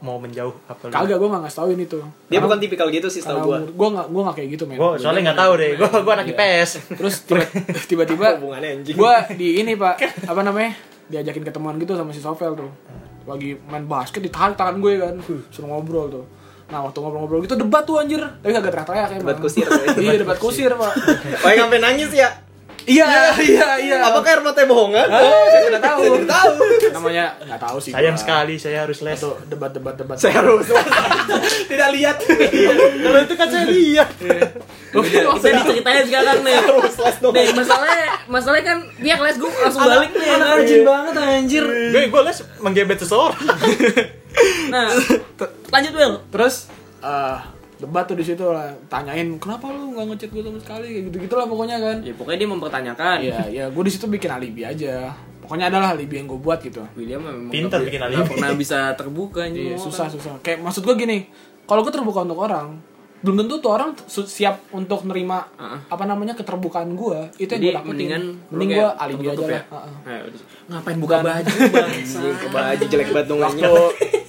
Speaker 5: mau menjauh apa lu.
Speaker 3: Kagak gue nggak ngasih tauin itu.
Speaker 1: Dia bukan tipikal gitu sih
Speaker 3: Karena
Speaker 1: tahu gua.
Speaker 3: gue nggak gue nggak kayak gitu men.
Speaker 5: Gue soalnya nggak tahu deh. Gue gue anak IPS.
Speaker 3: terus tiba- tiba-tiba
Speaker 1: Apa hubungannya anjing?
Speaker 3: gue di ini pak apa namanya diajakin ketemuan gitu sama si Sofel tuh lagi main basket ditarik tangan gue kan suruh ngobrol tuh nah waktu ngobrol-ngobrol gitu debat tuh anjir tapi kagak teriak-teriak emang.
Speaker 1: Debat kusir.
Speaker 3: iya debat kusir pak
Speaker 1: Oh, yang sampai nangis <laughs> ya?
Speaker 3: iya iya iya
Speaker 1: Apakah air mata bohongan?
Speaker 3: Ah, saya tidak tahu
Speaker 1: Tidak tahu.
Speaker 3: namanya nggak tahu
Speaker 5: <laughs>
Speaker 3: sih
Speaker 5: Sayang
Speaker 3: Pak.
Speaker 5: sekali saya harus les.
Speaker 3: Tuh, debat-debat debat
Speaker 1: Saya harus <laughs> tidak lihat. Kalau itu kan saya lihat.
Speaker 4: <laughs> Kita diceritain sekarang nih.
Speaker 1: Harus les dong.
Speaker 4: Nih, masalahnya masalahnya kan dia kelas gue langsung balik nih. ya
Speaker 1: Anak
Speaker 4: kan?
Speaker 1: anjing banget anjir.
Speaker 5: Gue gue les menggebet seseorang.
Speaker 4: Nah, lanjut Will.
Speaker 3: terus eh, debat tuh di situ lah tanyain kenapa lu nggak ngechat gue sama sekali kayak gitu gitulah pokoknya kan
Speaker 4: Ya pokoknya dia mempertanyakan.
Speaker 3: Iya, ya gue di situ bikin alibi aja. Pokoknya adalah alibi yang gue buat gitu.
Speaker 4: William memang
Speaker 5: Pinter
Speaker 4: nggak-
Speaker 5: bikin
Speaker 4: nggak
Speaker 5: alibi.
Speaker 4: pernah bisa terbuka anjing. kan.
Speaker 3: Iya, susah susah. Kayak maksud gue gini, kalau gue terbuka untuk orang, belum tentu tuh orang su- siap untuk nerima
Speaker 4: Ah.
Speaker 3: apa namanya keterbukaan gue. Itu yang
Speaker 4: Jadi
Speaker 3: gue takutin.
Speaker 4: mendingan
Speaker 3: Kan mending
Speaker 4: lu
Speaker 3: gue
Speaker 4: kayak
Speaker 3: alibi aja
Speaker 4: tertutup
Speaker 3: lah.
Speaker 4: ya?
Speaker 3: Ah, ah.
Speaker 4: Ayo, ngapain buka baju bang?
Speaker 1: Baju jelek banget dong anjing.
Speaker 3: Waktu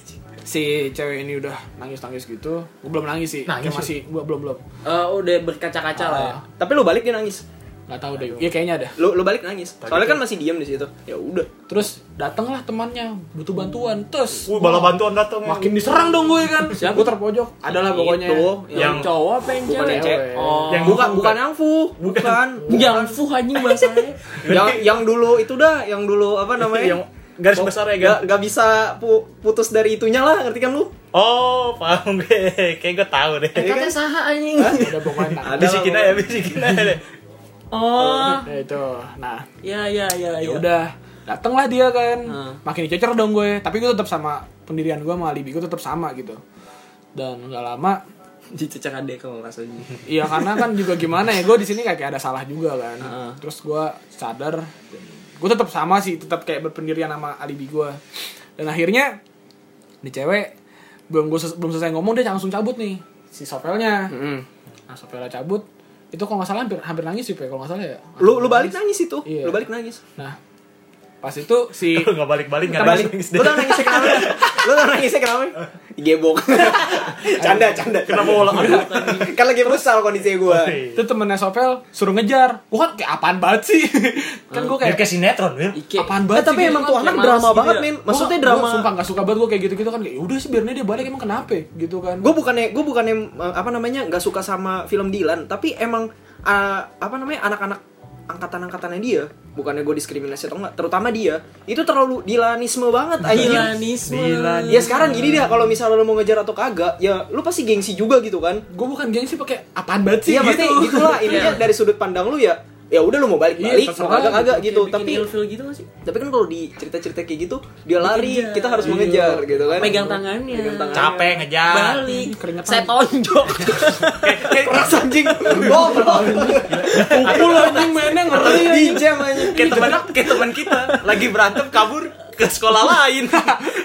Speaker 3: <laughs> si cewek ini udah nangis nangis gitu, gue belum nangis sih.
Speaker 5: Nangis
Speaker 3: Kayak masih gue belum belum.
Speaker 4: Eh, udah berkaca-kaca lah
Speaker 3: Ah.
Speaker 4: ya.
Speaker 1: Tapi lu balik dia nangis.
Speaker 3: Gak tahu deh. Iya kayaknya ada.
Speaker 1: Lu lu balik nangis. Soalnya kan masih diam di situ. Ya udah.
Speaker 3: Terus datanglah temannya butuh bantuan. Terus
Speaker 5: Wih bala bantuan datang.
Speaker 3: makin diserang dong gue kan.
Speaker 4: Siapa?
Speaker 3: Gue terpojok. Adalah pokoknya.
Speaker 1: Itu,
Speaker 4: Yang
Speaker 5: Yang-
Speaker 4: cowok apa yang
Speaker 1: Bukan
Speaker 4: cewek?
Speaker 1: yang cewek.
Speaker 4: Oh.
Speaker 5: Yang-
Speaker 1: bukan bukan yang fu, bukan.
Speaker 5: <laughs>
Speaker 4: Yang fuh anjing
Speaker 3: <laughs>
Speaker 4: bahasanya.
Speaker 1: Yang yang dulu itu dah, yang dulu apa namanya?
Speaker 5: Yang <laughs> garis besar ya
Speaker 1: Gak,
Speaker 5: kan.
Speaker 1: gak bisa pu- putus dari itunya lah, ngerti kan lu?
Speaker 5: Oh paham gue. Kayak gue tahu deh.
Speaker 3: Iya kan?
Speaker 4: Katanya saha anjing.
Speaker 3: Ada
Speaker 4: <laughs>
Speaker 3: pokoknya.
Speaker 1: Ada
Speaker 5: Bisikin aja, bisikin aja deh.
Speaker 4: Oh.
Speaker 3: Ya itu. Nah,
Speaker 4: Ya ya ya
Speaker 3: ya
Speaker 4: ya.
Speaker 3: udah datanglah dia kan
Speaker 4: Nah.
Speaker 3: makin dicecer dong gue tapi gue tetap sama pendirian gue sama alibi gue tetap sama gitu dan nggak lama
Speaker 4: Dicecak adek kalau enggak salah.
Speaker 3: Iya karena kan juga gimana ya gue di sini kayak kayak ada salah juga kan.
Speaker 4: Heeh.
Speaker 3: Terus gue sadar, gue tetap sama sih, tetap kayak berpendirian sama alibi gue. Dan akhirnya nih cewek belum gue belum selesai ngomong dia langsung cabut nih si sopelnya.
Speaker 4: Hmm.
Speaker 3: Nah sopelnya cabut itu kalau nggak salah hampir hampir nangis sih Pe, kalau nggak salah ya.
Speaker 1: Lu lu balik nangis itu.
Speaker 3: Iya.
Speaker 1: Lu balik nangis.
Speaker 3: Nah pas itu si
Speaker 5: Lu nggak balik-balik nggak
Speaker 1: Balik.
Speaker 5: nangis
Speaker 1: Lu
Speaker 5: deh. <laughs>
Speaker 1: udah nangis kenapa? Lu nangisnya kenapa? Gebok. canda, canda.
Speaker 2: Kenapa olah olah
Speaker 1: kan lagi meresal kondisi gue.
Speaker 3: Itu temennya Sopel suruh ngejar. Wah, kayak apaan banget
Speaker 1: <laughs>
Speaker 3: sih? kan gue
Speaker 5: Kayak
Speaker 3: kayak
Speaker 5: kayak sinetron, Wil.
Speaker 4: Ike.
Speaker 3: apaan
Speaker 1: Eh,
Speaker 3: banget sih?
Speaker 1: tapi
Speaker 3: gitu.
Speaker 1: emang tuh anak
Speaker 4: kayak
Speaker 1: drama
Speaker 4: males gitu
Speaker 1: banget,
Speaker 4: ya.
Speaker 1: Min.
Speaker 3: Gua-
Speaker 1: Maksudnya
Speaker 3: gua
Speaker 1: drama.
Speaker 3: sumpah gak suka banget gue kayak gitu-gitu kan kayak udah sih biar dia balik emang kenapa ya?" gitu kan
Speaker 1: gue bukannya gue bukannya eh, apa namanya nggak suka sama film Dilan tapi emang eh, apa namanya anak-anak angkatan-angkatannya dia bukannya gue diskriminasi atau enggak terutama dia itu terlalu dilanisme banget anjing
Speaker 4: Dilanisme.
Speaker 5: Dilan.
Speaker 1: ya sekarang gini deh kalau misalnya lo mau ngejar atau kagak ya lu pasti gengsi juga gitu kan
Speaker 3: gue bukan gengsi pakai apaan banget sih
Speaker 1: iya pasti
Speaker 3: gitu <laughs>
Speaker 1: gitulah intinya dari sudut pandang lu ya ya udah lu mau balik balik
Speaker 3: Iya,
Speaker 1: mau
Speaker 3: terserah
Speaker 1: kagak kagak gitu
Speaker 4: Bikin
Speaker 1: tapi
Speaker 4: ilfil gitu gak sih?
Speaker 1: tapi kan kalau di cerita-cerita kayak gitu dia lari
Speaker 4: Dikejar.
Speaker 1: kita harus mengejar gitu kan
Speaker 4: Pegang tangannya.
Speaker 1: Pegang tangannya.
Speaker 2: Capek ngejar.
Speaker 4: Balik.
Speaker 3: Keringetan.
Speaker 4: Saya tonjok.
Speaker 1: keras <laughs> anjing goblok
Speaker 3: pukul anjing mainnya ngeri
Speaker 1: di jam anjing
Speaker 2: Kayak teman kayak teman kita lagi berantem kabur ke sekolah lain.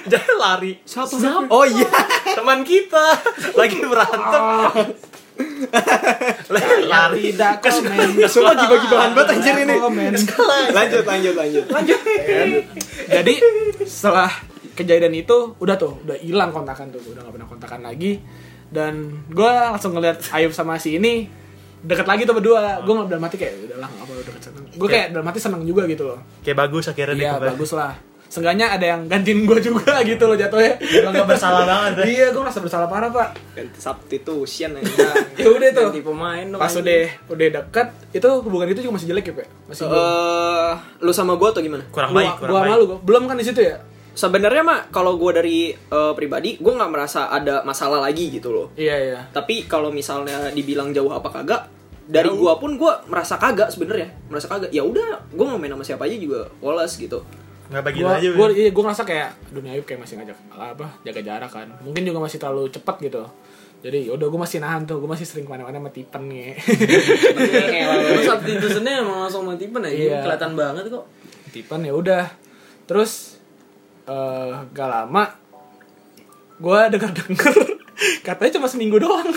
Speaker 2: Jadi lari.
Speaker 1: Siapa? Oh iya.
Speaker 2: Teman kita lagi berantem lari
Speaker 3: tidak
Speaker 2: ke
Speaker 3: komen
Speaker 2: sekolah- ke
Speaker 1: Sumpah
Speaker 2: sekolah.
Speaker 1: dibagi bahan banget anjir ini.
Speaker 3: Komen.
Speaker 1: Lanjut lanjut lanjut. Lanjut.
Speaker 3: jadi setelah kejadian itu udah tuh udah hilang kontakan tuh udah gak pernah kontakan lagi dan gue langsung ngeliat Ayub sama si ini deket lagi tuh berdua gue dalam hati kayak udah lah nggak apa udah seneng gue kayak dalam hati seneng juga gitu loh
Speaker 2: Kayak bagus akhirnya
Speaker 3: iya bagus lah Seenggaknya ada yang gantiin gue juga <laughs> gitu loh jatuhnya
Speaker 2: Iya,
Speaker 5: Emang gak bersalah banget. Wil.
Speaker 3: Iya gue merasa bersalah parah pak <laughs>
Speaker 1: Substitution
Speaker 3: Nah,
Speaker 1: anjing.
Speaker 3: <laughs> ya udah tuh
Speaker 4: Ganti pemain dong.
Speaker 3: pas udah udah dekat itu hubungan itu juga masih jelek ya pak masih belum
Speaker 1: Eh, lu sama gua atau gimana?
Speaker 2: Kurang
Speaker 3: Gua-
Speaker 2: baik, kurang
Speaker 3: gua
Speaker 2: baik.
Speaker 3: malu gua belum kan di situ ya
Speaker 1: Sebenarnya mah kalau gua dari eh, pribadi, gua nggak merasa ada masalah lagi gitu loh.
Speaker 3: iya iya
Speaker 1: Tapi kalau misalnya dibilang jauh apa kagak, dari gua pun gua merasa kagak sebenarnya, merasa kagak. Ya udah, gua mau main sama siapa aja juga woles gitu.
Speaker 2: Enggak bagi
Speaker 3: gua
Speaker 2: aja.
Speaker 3: gua iya gua ngerasa kayak dunia Ayub kayak masih ngajak apa jaga jarak kan mungkin juga masih terlalu cepat gitu jadi yaudah gue masih nahan tuh gue masih sering kemana-mana sama Tipen ya. nih <laughs>
Speaker 4: Iya, Terus substitutionnya emang langsung mati tipe aja.
Speaker 3: Iya.
Speaker 4: Kelihatan banget kok.
Speaker 3: Tipen ya udah terus eh gak lama gue denger denger <laughs> katanya cuma seminggu doang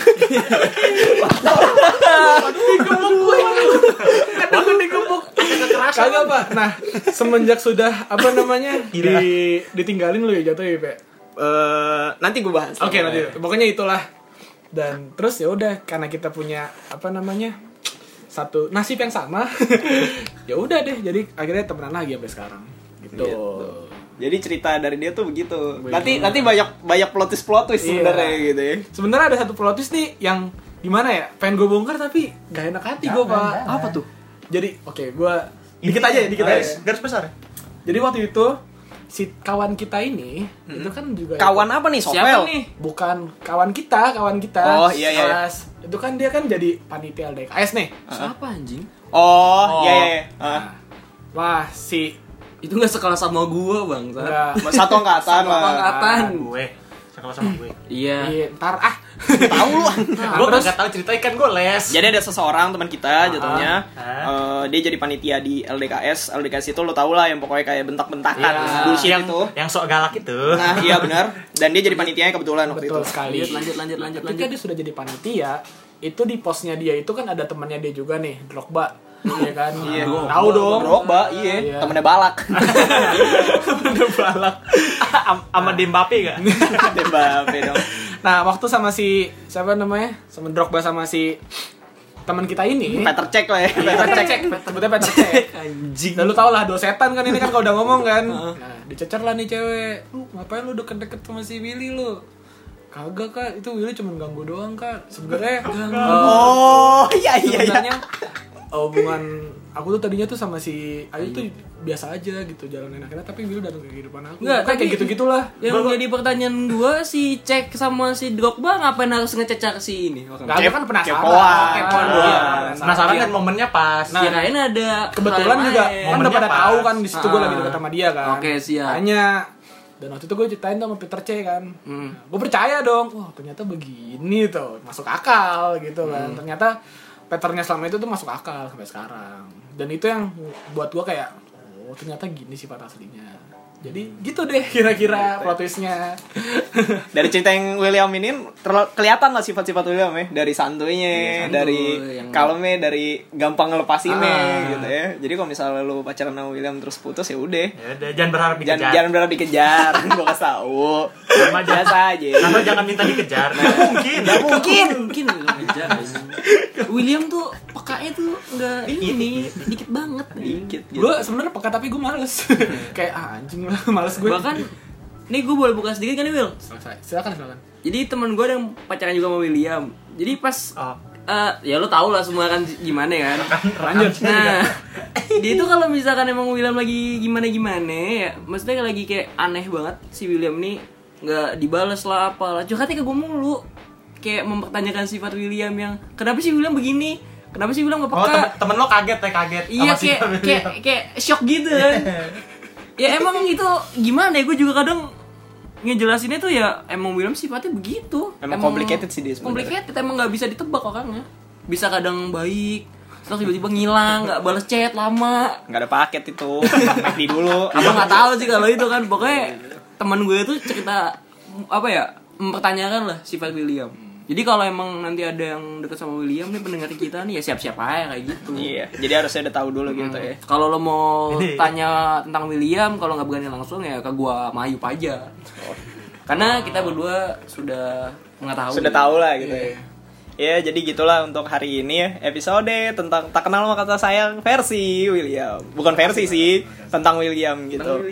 Speaker 3: Waduh, digembok kagak pak nah semenjak sudah apa namanya di ditinggalin lu ya jatuh ya Pe?
Speaker 1: Eh, nanti gua bahas.
Speaker 3: Oke nanti pokoknya itulah dan terus ya udah karena kita punya apa namanya satu nasib yang sama <laughs> ya udah deh jadi akhirnya temenan lagi sampai sekarang gitu,
Speaker 1: Jadi cerita dari dia tuh begitu. Nanti nanti banyak banyak plot twist plot twist
Speaker 3: Iya.
Speaker 1: sebenarnya gitu ya.
Speaker 3: sebenarnya ada satu plot twist nih yang gimana ya pengen gue bongkar tapi gak enak hati gue pak
Speaker 5: jangan.
Speaker 3: apa tuh jadi oke gue
Speaker 1: Dikit aja ya, dikit aja.
Speaker 2: Garis besar.
Speaker 3: jadi waktu itu si kawan kita ini itu kan juga
Speaker 1: Hmm. Kawan apa nih, Sopel?
Speaker 4: Siapa nih?
Speaker 3: bukan kawan kita kawan kita
Speaker 1: Oh, iya, iya, iya.
Speaker 3: Kelas. itu kan dia kan jadi panitia LDKS nih
Speaker 4: Siapa anjing?
Speaker 1: Oh, iya iya. Ah.
Speaker 3: wah si
Speaker 4: Itu gak sekelas sama gua bang.
Speaker 3: Enggak.
Speaker 1: Ah, Satu angkatan lah.
Speaker 4: Angkatan.
Speaker 2: Gue. Sekolah sama gue.
Speaker 4: Iya.
Speaker 1: Nah.
Speaker 3: Iya, ntar ah.
Speaker 1: Tahu lu.
Speaker 3: Nah,
Speaker 2: Gue
Speaker 3: terus
Speaker 2: enggak tahu ceritanya kan gue les.
Speaker 1: Jadi ada seseorang teman kita jatuhnya
Speaker 5: ah.
Speaker 1: eh, dia jadi panitia di LDKS. LDKS itu lo tau lah yang pokoknya kayak bentak-bentakan
Speaker 3: Iya.
Speaker 1: bullshit
Speaker 2: yang
Speaker 1: itu.
Speaker 2: yang sok galak itu.
Speaker 1: Nah, iya benar. Dan dia jadi panitianya kebetulan waktu
Speaker 3: betul
Speaker 1: itu.
Speaker 3: sekali.
Speaker 4: Iya. Lanjut lanjut lanjut lanjut
Speaker 3: Ketika
Speaker 4: lanjut.
Speaker 3: dia sudah jadi panitia, itu di posnya dia itu kan ada temannya dia juga nih, Drogba. Iya kan?
Speaker 1: <laughs> Iya.
Speaker 3: Tahu dong.
Speaker 1: Drogba, iya,
Speaker 3: Iya.
Speaker 1: temennya balak. <laughs>
Speaker 2: Udah balak. <laughs> Am- Sama Dembape enggak?
Speaker 1: Dembabe dong.
Speaker 3: Nah, waktu sama si siapa namanya? Sama Drogba sama si teman kita ini. Iya,
Speaker 1: Peter cek lah ya, Peter cek.
Speaker 3: Sebutnya Peter Cech.
Speaker 4: Anjing.
Speaker 3: Dan lu tau lah dosetan kan ini kan kalau udah ngomong kan. Nah, dicecer lah nih cewek. Lu ngapain lu deket-deket sama si Willy lu? Kagak kak, itu Willy cuma ganggu doang kak. Sebenarnya eh,
Speaker 1: Oh, iya iya iya.
Speaker 3: sebenarnya eh, hubungan aku tuh tadinya tuh sama si Ayu tuh biasa aja gitu jalan enak-enak tapi Willy datang ke kehidupan aku.
Speaker 4: Nggak,
Speaker 3: Kan kayak
Speaker 4: tapi- ya.
Speaker 3: gitu-gitulah.
Speaker 4: Yang jadi pertanyaan gua si Cek sama si Drogba ngapain harus ngececar si ini? orang?
Speaker 3: Kagak kan penasaran.
Speaker 1: kepoan.
Speaker 3: Kepoan
Speaker 4: Iya.
Speaker 3: doang.
Speaker 2: Penasaran kan momennya pas.
Speaker 4: Nah, kirain ada
Speaker 3: kebetulan
Speaker 4: hal
Speaker 3: juga
Speaker 4: lain.
Speaker 3: kan udah
Speaker 2: Momennya
Speaker 3: pada
Speaker 2: pas.
Speaker 3: tahu kan di situ gue
Speaker 4: Ah.
Speaker 3: lagi deket sama dia kan.
Speaker 4: Oke, siap.
Speaker 3: Tanya. Dan waktu itu gue ceritain tuh sama Peter C kan. Gue percaya dong. Wah, ternyata begini tuh. Masuk akal gitu kan. Ternyata patternnya selama itu tuh masuk akal sampai sekarang. Dan itu yang buat gue kayak oh ternyata gini sifat aslinya. Jadi gitu deh kira-kira plot twistnya.
Speaker 1: dari cerita yang William ini terla- kelihatan lah sifat-sifat William ya dari santuinya
Speaker 3: Iya, santuy,
Speaker 1: dari
Speaker 3: yang-
Speaker 1: kalmnya dari gampang ngelepasinnya
Speaker 3: Ah.
Speaker 1: gitu ya jadi kalau misalnya lu pacaran sama William terus putus ya udah
Speaker 2: Ya udah, jangan berharap
Speaker 1: jangan
Speaker 2: dikejar.
Speaker 1: jangan berharap
Speaker 3: <laughs>
Speaker 1: dikejar gua kasih tahu
Speaker 2: Sama aja.
Speaker 1: biasa aja
Speaker 2: Kenapa Nah, jangan minta dikejar? Nggak mungkin.
Speaker 4: mungkin mungkin ngejar, anjing. William tuh pekanya tuh nggak ini dikit banget
Speaker 1: dikit gitu
Speaker 3: Gue sebenarnya peka tapi gue males. Kayak ah, anjing lah, males gue.
Speaker 4: bahkan nih gue boleh buka sedikit kan nih Will
Speaker 3: silakan silakan.
Speaker 4: jadi teman gue yang pacaran juga sama William jadi pas
Speaker 2: Oh,
Speaker 4: eh, ya lo tau lah semua kan gimana kan
Speaker 3: Lanjut.
Speaker 4: nah dia itu kalau misalkan emang William lagi gimana gimana ya maksudnya lagi kayak aneh banget si William nih nggak dibales lah apalah curhatnya ke gue mulu kayak mempertanyakan sifat William yang kenapa sih William begini kenapa sih William gak
Speaker 2: oh
Speaker 4: peka
Speaker 2: temen, temen lo kaget ya kaget.
Speaker 4: Iya
Speaker 2: sama si
Speaker 4: kayak
Speaker 2: William.
Speaker 4: kayak kayak shock gitu
Speaker 1: Iya.
Speaker 4: kan. ya emang itu gimana ya gue juga kadang ngejelasinnya tuh ya emang William sifatnya begitu.
Speaker 1: Emang complicated sih dia sebenarnya.
Speaker 4: Complicated emang nggak bisa ditebak orangnya. Bisa kadang baik, terus tiba-tiba ngilang, nggak balas chat lama.
Speaker 1: nggak ada paket itu McD dulu
Speaker 4: Apa nggak tahu sih kalau itu kan pokoknya teman gue tuh cerita apa ya mempertanyakan lah sifat William. Jadi kalau emang nanti ada yang deket sama William nih pendengar kita nih ya siap-siap aja kayak gitu.
Speaker 1: iya jadi harusnya udah tahu dulu gitu ya
Speaker 4: Kalau lo mau tanya tentang William, kalau nggak berani langsung ya ke gua Mayup aja. Karena kita berdua sudah mengetahui.
Speaker 1: sudah tahu lah gitu ya Ya jadi gitulah untuk hari ini ya episode tentang tak kenal sama kata sayang versi William bukan versi sih tentang William gitu.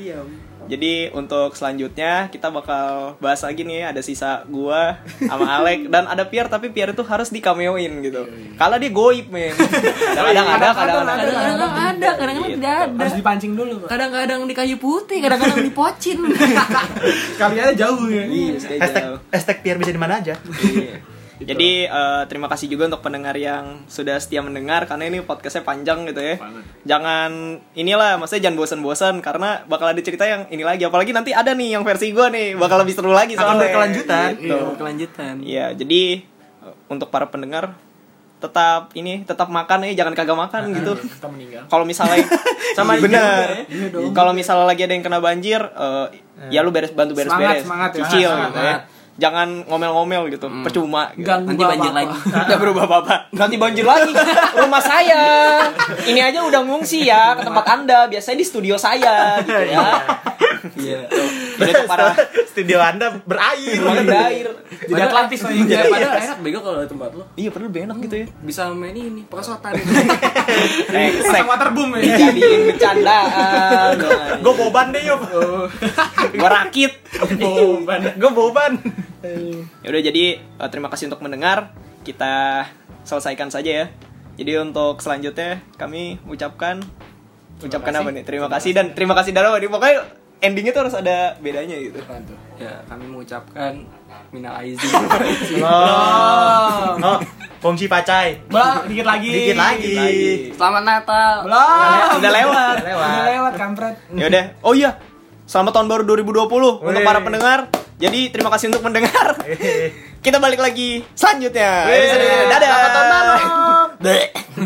Speaker 1: Jadi untuk selanjutnya kita bakal bahas lagi nih ada sisa gua sama <laughs> Alek dan ada Pierre tapi Pierre itu harus di cameoin gitu. Kalau dia goib men. <laughs> Kadang-kadang ada, Iya, kadang-kadang ada.
Speaker 4: Kadang-kadang ada, kadang-kadang tidak ada.
Speaker 3: Harus dipancing dulu, Pak.
Speaker 4: Kadang-kadang di kayu putih, kadang-kadang di pocin.
Speaker 3: Kalian jauh ya.
Speaker 1: Iya, sudah
Speaker 5: Hashtag,
Speaker 1: jauh.
Speaker 5: hashtag Pierre bisa di mana aja.
Speaker 1: Iya. <laughs> Jadi eh, terima kasih juga untuk pendengar yang sudah setia mendengar karena ini podcastnya panjang gitu ya. Jangan inilah, maksudnya jangan bosan-bosan karena bakal ada cerita yang ini lagi. Apalagi nanti ada nih yang versi gua nih bakal lebih seru lagi
Speaker 5: Akan
Speaker 1: soalnya.
Speaker 5: berkelanjutan.
Speaker 1: Gitu.
Speaker 4: Kelanjutan.
Speaker 1: Iya, jadi eh, untuk para pendengar tetap ini tetap makan ya jangan kagak
Speaker 5: <laughs>
Speaker 1: makan gitu.
Speaker 3: Kita meninggal.
Speaker 1: Kalau
Speaker 3: <laughs>
Speaker 1: misalnya
Speaker 3: Iya,
Speaker 1: sama bener. Kalau misalnya lagi ada yang kena banjir, eh, ya lu beres bantu
Speaker 3: Semangat,
Speaker 1: beres-beres,
Speaker 3: Iya. semangat,
Speaker 1: cicil
Speaker 3: semangat, Hmm.
Speaker 1: gitu ya. Jangan ngomel-ngomel gitu, percuma. Gitu. <laughs>
Speaker 3: Ganggu
Speaker 4: Nanti banjir
Speaker 3: apa-apa.
Speaker 4: lagi.
Speaker 1: Udah berubah bapak Nanti banjir lagi <laughs> Rumah saya Ini aja udah ngungsi ya Ke tempat anda Biasanya di studio saya Gitu
Speaker 3: <laughs>
Speaker 1: ya
Speaker 4: <laughs>
Speaker 1: Iya Jadi untuk
Speaker 2: <laughs>
Speaker 1: para
Speaker 5: Studio Anda berair.
Speaker 1: Ruangan
Speaker 3: Iya.
Speaker 1: air
Speaker 3: Jadi Atlantis lagi.
Speaker 4: Padahal padahal enak bego kalau di tempat lo.
Speaker 1: Iya perlu enak gitu ya
Speaker 4: Bisa main ini, perosotan.
Speaker 1: Eksek
Speaker 3: Iya. Pasang water boom ya.
Speaker 1: Dijadiin bercandaan
Speaker 3: <laughs>
Speaker 5: Gue boban deh yuk.
Speaker 1: Gue rakit
Speaker 3: Boban.
Speaker 5: Gue boban.
Speaker 1: Yaudah jadi eh, Terima kasih untuk mendengar Kita Selesaikan saja ya Jadi untuk selanjutnya Kami ucapkan Ucapkan apa nih Terima kasih dan Terima kasih dan apa nih Pokoknya endingnya tuh harus ada bedanya gitu
Speaker 4: ya, kami mengucapkan minal aizin.
Speaker 5: Oh. Oh. Fungsi pacai.
Speaker 3: Ba, dikit lagi.
Speaker 5: Dikit lagi.
Speaker 4: Selamat Natal.
Speaker 3: Belum.
Speaker 1: Udah lewat
Speaker 5: Lewat.
Speaker 3: <laughs> Udah lewat kampret.
Speaker 1: Ya udah. Oh iya. Selamat tahun baru 2020 untuk
Speaker 5: Wih.
Speaker 1: para pendengar. Jadi terima kasih untuk mendengar. Kita balik lagi selanjutnya. Episode- Dadah. Selamat tahun baru.